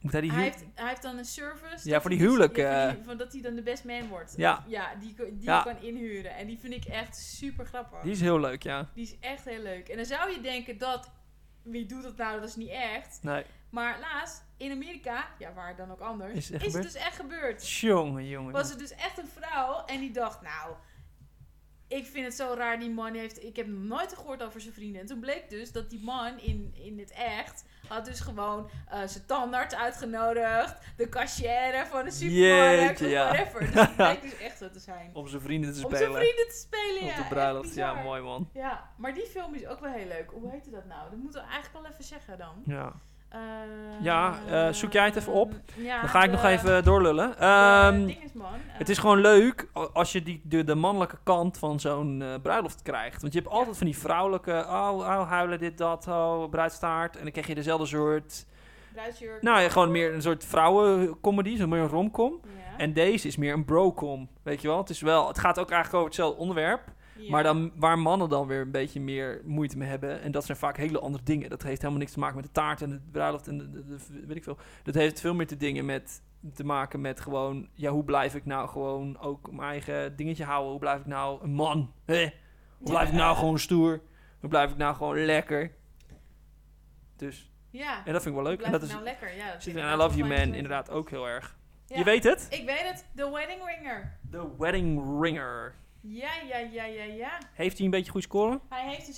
B: moet hij die
A: hij,
B: huur-
A: heeft, hij heeft dan een service.
B: Ja,
A: dat
B: voor
A: hij
B: die
A: dus-
B: huwelijken.
A: ja, voor die- van dat hij dan de best man wordt.
B: Ja.
A: Ja, die, ko- die je
B: Ja.
A: kan inhuren. En die vind ik echt super grappig.
B: Die is heel leuk, ja.
A: Die is echt heel leuk. En dan zou je denken dat. Wie doet dat nou? Dat is niet echt.
B: Nee,
A: Maar laatst, in Amerika, ja waar dan ook anders,
B: Is
A: is
B: het echt
A: het,
B: gebeurd?
A: dus echt gebeurd.
B: jongen, jongen.
A: Was er dus echt een vrouw en die dacht, nou, ik vind het zo raar, die man heeft, ik heb nog nooit gehoord over zijn vrienden. En toen bleek dus dat die man in, in het echt, had dus gewoon eh, zijn tandarts uitgenodigd, de cashier van de supermarkt,
B: Jeetje,
A: of
B: ja.
A: whatever. Dus het bleek dus echt zo te zijn.
B: Om zijn vrienden te
A: Om zijn
B: spelen.
A: vrienden te spelen, ja.
B: Op de
A: echt
B: bruiloft, ja,
A: bizar.
B: mooi man.
A: Ja, maar die film is ook wel heel leuk. Hoe heette dat nou? Dat moeten we eigenlijk wel even zeggen dan.
B: Ja.
A: Eh,
B: Ja, eh, zoek jij het even op?
A: Ehm, ja, eh,
B: Dan ga ik nog
A: de-
B: even doorlullen.
A: de
B: Ehm,
A: dinges, man. Eh,
B: het is gewoon leuk a- als je die, de, de mannelijke kant van zo'n eh, bruiloft krijgt. Want je hebt altijd van die vrouwelijke, oh, oh, huilen dit, dat, oh, bruidstaart. En dan krijg je dezelfde soort,
A: bruidsjurk.
B: nou ja, gewoon meer een soort vrouwencomedy, zo meer een romcom.
A: Ja.
B: En deze is meer een brocom, weet je wel. Het, is wel, het gaat ook eigenlijk over hetzelfde onderwerp.
A: Ja.
B: Maar dan, waar mannen dan weer een beetje meer moeite mee hebben. En dat zijn vaak hele andere dingen. Dat heeft helemaal niks te maken met de taart en de bruiloft en de, de- de- weet ik veel. Dat heeft veel meer te, dingen met, te maken met gewoon... Ja, hoe blijf ik nou gewoon ook mijn eigen dingetje houden? Hoe blijf ik nou een man? Hè? Hoe blijf ik nou gewoon stoer? Hoe blijf ik nou gewoon lekker? Dus,
A: Ja.
B: en dat vind ik wel leuk. En
A: Blijft
B: dat
A: het
B: is,
A: nou lekker. Ja, dat
B: zit
A: vind
B: in
A: ik
B: I Love You
A: wel
B: Man
A: leuk.
B: inderdaad ook heel erg.
A: Ja.
B: Je weet het?
A: Ik weet het. The Wedding Ringer.
B: The Wedding Ringer.
A: Ja, ja, ja, ja, ja.
B: Heeft hij een beetje goed scoren?
A: Hij heeft een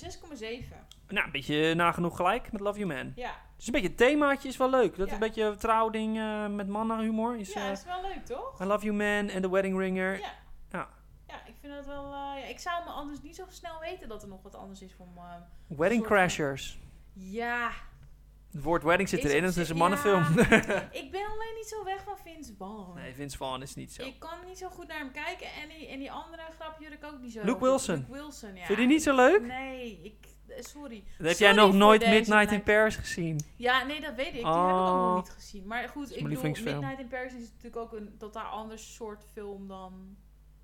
A: 6,7.
B: Nou, een beetje nagenoeg gelijk met Love You Man.
A: Ja.
B: Dus een beetje het themaatje is wel leuk. Dat
A: Ja.
B: een beetje trouwding eh met mannenhumor is.
A: Ja,
B: eh,
A: dat is wel leuk, toch?
B: I Love You Man en The Wedding Ringer.
A: Ja.
B: Ja.
A: Ja, ik vind dat wel... eh, ja, ik zou me anders niet zo snel weten dat er nog wat anders is voor me.
B: Wedding
A: Soort van-
B: Crashers.
A: Ja.
B: Het woord wedding zit
A: Is
B: erin,
A: op
B: dat
A: zich-
B: is een mannenfilm.
A: ik ben alleen niet zo weg van Vince Vaughn.
B: nee, Vince Vaughn is niet zo.
A: Ik kan niet zo goed naar hem kijken. En die, en die andere grapje ik ook niet zo.
B: Luke
A: goed.
B: Wilson.
A: Luke Wilson, ja.
B: Vind je die niet zo leuk?
A: Nee, ik... eh, Sorry.
B: Dan heb jij
A: Sorry
B: nog
A: voor
B: nooit
A: deze
B: Midnight in
A: plek.
B: Paris gezien.
A: Ja, nee, dat weet ik. Die heb ik
B: Oh.
A: ook nog niet gezien. Maar goed,
B: is
A: ik
B: mijn
A: bedoel,
B: lievelingsfilm.
A: Midnight in Paris is natuurlijk ook een totaal ander soort film dan...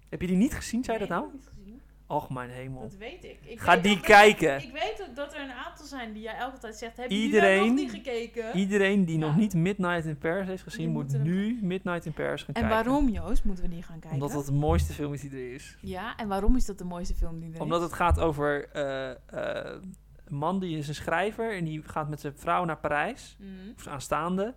B: Heb je die niet gezien, zei je
A: Nee,
B: dat
A: heb
B: nou?
A: ik niet gezien.
B: Och, mijn hemel.
A: Dat weet ik. ik
B: Ga
A: weet
B: die
A: ook-
B: kijken.
A: Ik weet ook dat er een aantal zijn die jij elke tijd zegt. Heb je
B: Iedereen-
A: nog niet gekeken?
B: Iedereen die
A: Ja.
B: nog niet Midnight in Paris heeft gezien,
A: Die
B: moet
A: moeten hem-
B: nu Midnight in Paris
A: en
B: gaan kijken.
A: waarom, Joost, moeten we die gaan kijken?
B: Omdat dat de mooiste film is die er is.
A: Ja, en waarom is dat de mooiste film die er
B: Omdat
A: is?
B: het gaat over eh, eh, een man die is een schrijver en die gaat met zijn vrouw naar Parijs.
A: Mhm.
B: Of ze aanstaande.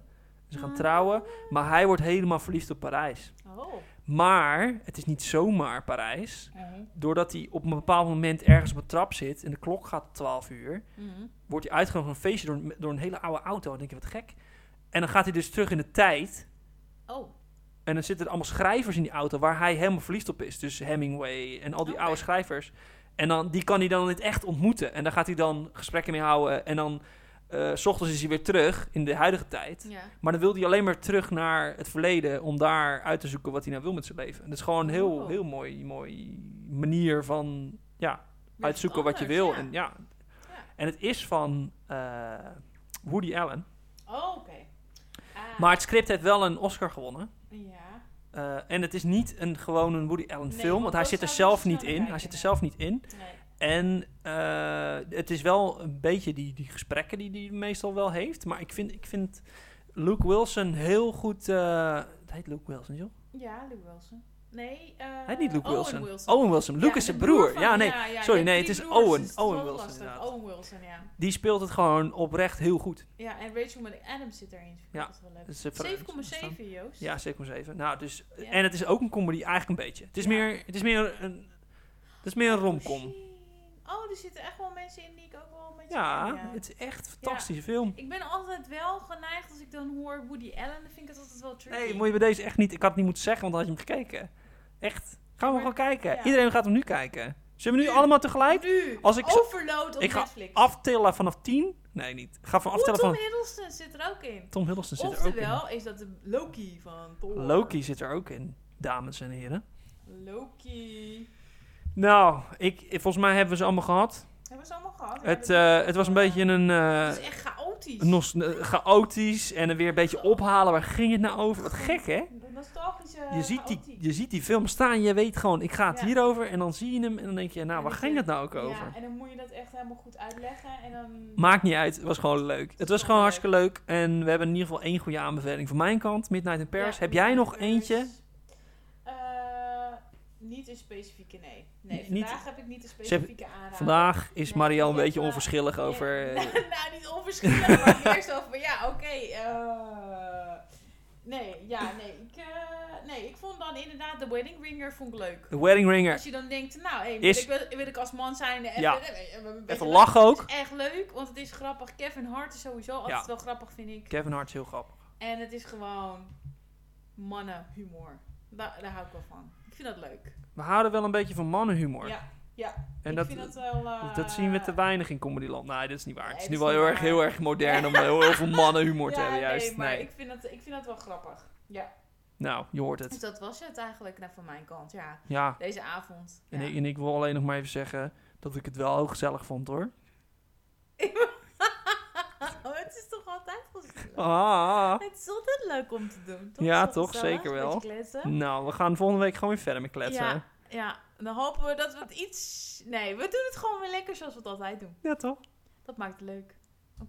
B: Ze
A: Mm. Ah.
B: gaan trouwen. Maar hij wordt helemaal verliefd op Parijs.
A: Oh.
B: Maar het is niet zomaar Parijs.
A: Mhm.
B: Doordat hij op een bepaald moment ergens op een trap zit en de klok gaat 12 uur,
A: Mhm.
B: wordt hij uitgenodigd voor een feestje door, een- door een hele oude auto. Dan denk je wat gek. En dan gaat hij dus terug in de tijd.
A: Oh.
B: En dan zitten er allemaal schrijvers in die auto waar hij helemaal verliefd op is. Dus Hemingway en al die
A: Oké.
B: oude schrijvers. En dan, die kan hij dan in het echt ontmoeten. En daar gaat hij dan gesprekken mee houden. En dan, eh, s ochtends is hij weer terug in de huidige tijd.
A: Ja.
B: Maar dan wil hij alleen maar terug naar het verleden om daar uit te zoeken wat hij nou wil met zijn leven. En dat is gewoon een heel,
A: Oh.
B: heel mooi, mooi manier van
A: Weer
B: uitzoeken wat je
A: anders,
B: wil.
A: ja.
B: En, ja.
A: Ja.
B: en het is van eh, Woody Allen.
A: Oh, oké. Ah,
B: Maar het script heeft wel een Oscar gewonnen.
A: Ja.
B: Eh, en het is niet een gewoon een Woody Allen
A: Nee,
B: film,
A: want
B: want hij
A: dat
B: zit er
A: zou ik
B: zelf
A: dus
B: niet in.
A: snel naar
B: hij zit er
A: kijken,
B: zelf niet in.
A: Nee.
B: En eh, het is wel een beetje die, die gesprekken die hij meestal wel heeft. Maar ik vind, ik vind Luke Wilson heel goed. eh, het heet Luke Wilson, joh.
A: Ja, Luke Wilson. Nee, eh
B: Hij heet niet Luke
A: Owen
B: Wilson.
A: Wilson.
B: Owen Wilson. Luke is
A: de
B: zijn broer.
A: van-
B: ja, nee.
A: ja, ja,
B: Sorry,
A: je hebt
B: nee,
A: drie
B: het is
A: broers,
B: Owen.
A: dus het is
B: Owen
A: wel
B: Wilson,
A: lastig.
B: inderdaad.
A: Owen Wilson, ja.
B: Die speelt het gewoon oprecht heel goed.
A: Ja, en Rachel McAdams zit erin. Vind ik
B: Ja,
A: altijd wel
B: Dat is een
A: leuk.
B: verhaal.
A: 7,7 Joost.
B: Ja, 7,7. Nou, dus,
A: Ja.
B: En het is ook een comedy eigenlijk een beetje. Het is
A: Ja.
B: meer, het is meer een, het is meer een romcom.
A: Oh, er zitten echt wel mensen in die ik ook wel een beetje
B: Ja,
A: ken,
B: het is echt een fantastische film.
A: Ik ben altijd wel geneigd als ik dan hoor Woody Allen, dan vind ik het altijd wel tricky.
B: Nee, moet je bij deze echt niet. Ik had het niet moeten zeggen, want dan had je hem gekeken. Echt. Gaan we
A: Maar-
B: gewoon kijken.
A: ja.
B: Iedereen gaat hem nu kijken. Zullen we nu
A: Nu.
B: allemaal tegelijk
A: Nu,
B: als ik zo-
A: Overload op
B: ik ga
A: Netflix.
B: aftillen vanaf 10? Nee, niet. Ik ga van
A: Oeh, Tom
B: aftellen van.
A: Hiddleston zit er ook in.
B: Tom Hiddleston zit er ook in.
A: Oftewel is dat de Loki van Thor.
B: Loki zit er ook in, dames en heren.
A: Loki.
B: Nou, ik, ik- volgens mij hebben we ze allemaal gehad.
A: Hebben we ze allemaal gehad? Ja,
B: Het,
A: dat-
B: eh, het was een beetje een. eh,
A: het is echt chaotisch.
B: nos- eh, chaotisch en weer een beetje ophalen. Waar ging het nou over? Wat gek, hè?
A: De nostalgische
B: Je ziet, die,
A: Eh, chaotisch.
B: je ziet die film staan, je weet gewoon, ik ga het
A: Ja.
B: hierover. En dan zie je hem en dan denk je, nou,
A: En
B: waar
A: dan
B: ging
A: je-
B: het nou ook over?
A: Ja, en dan moet je dat echt helemaal goed uitleggen. En dan...
B: Maakt niet uit, het was gewoon leuk. Het was gewoon hartstikke leuk en we hebben in ieder geval één goede aanbeveling van mijn kant. Midnight in Paris.
A: Ja,
B: Heb jij
A: Midnight
B: nog
A: Paris.
B: eentje?
A: Eh, niet een specifieke, nee. Nee,
B: Niet-
A: vandaag heb ik niet een
B: hebben-
A: specifieke aanrader.
B: Vandaag is
A: Nee,
B: Marielle
A: ik
B: een
A: heb,
B: beetje
A: eh,
B: onverschillig
A: Nee,
B: over... eh,
A: nou, nou, niet onverschillig, maar eerst over... Ja, oké. eh, nee, ja, nee. Ik, eh, nee, ik vond dan inderdaad de wedding ringer vond ik leuk.
B: The Wedding Ringer.
A: Als je dan denkt, nou, hey,
B: Is-
A: wil, ik, wil ik als man zijn... Even,
B: Ja.
A: even, een beetje
B: Even lachen ook.
A: Het is echt leuk, want het is grappig. Kevin Hart is sowieso altijd wel grappig, vind ik.
B: Kevin Hart is heel grappig.
A: En het is gewoon mannenhumor. Daar, daar hou ik wel van. Ik vind dat leuk.
B: We houden wel een beetje van mannenhumor.
A: Ja, ja.
B: en
A: ik
B: dat,
A: vind dat wel... eh,
B: dat zien we te weinig in Comedyland. Nee, dat is niet waar.
A: Nee,
B: het is
A: dat
B: nu
A: is
B: wel
A: niet
B: heel erg,
A: waar.
B: heel erg modern om heel, heel veel mannenhumor te
A: ja,
B: hebben. Juist,
A: Nee, maar
B: nee.
A: Ik, vind dat, ik vind dat wel grappig. Ja.
B: Nou, je hoort het.
A: Dus dat was het eigenlijk nou, van mijn kant, ja.
B: Ja,
A: Deze avond.
B: en,
A: ja.
B: Ik, en ik wil alleen nog maar even zeggen dat ik het wel heel gezellig vond hoor.
A: Oh, het is toch altijd gezellig?
B: Ah.
A: Het is altijd leuk om te doen, toch?
B: Ja,
A: Zo
B: toch?
A: gezellig,
B: Zeker
A: een beetje
B: wel.
A: kletsen.
B: Nou, we gaan volgende week gewoon weer verder met kletsen.
A: Ja, ja, dan hopen we dat we het iets... Nee, we doen het gewoon weer lekker zoals we het altijd doen.
B: Ja, toch?
A: Dat maakt het leuk.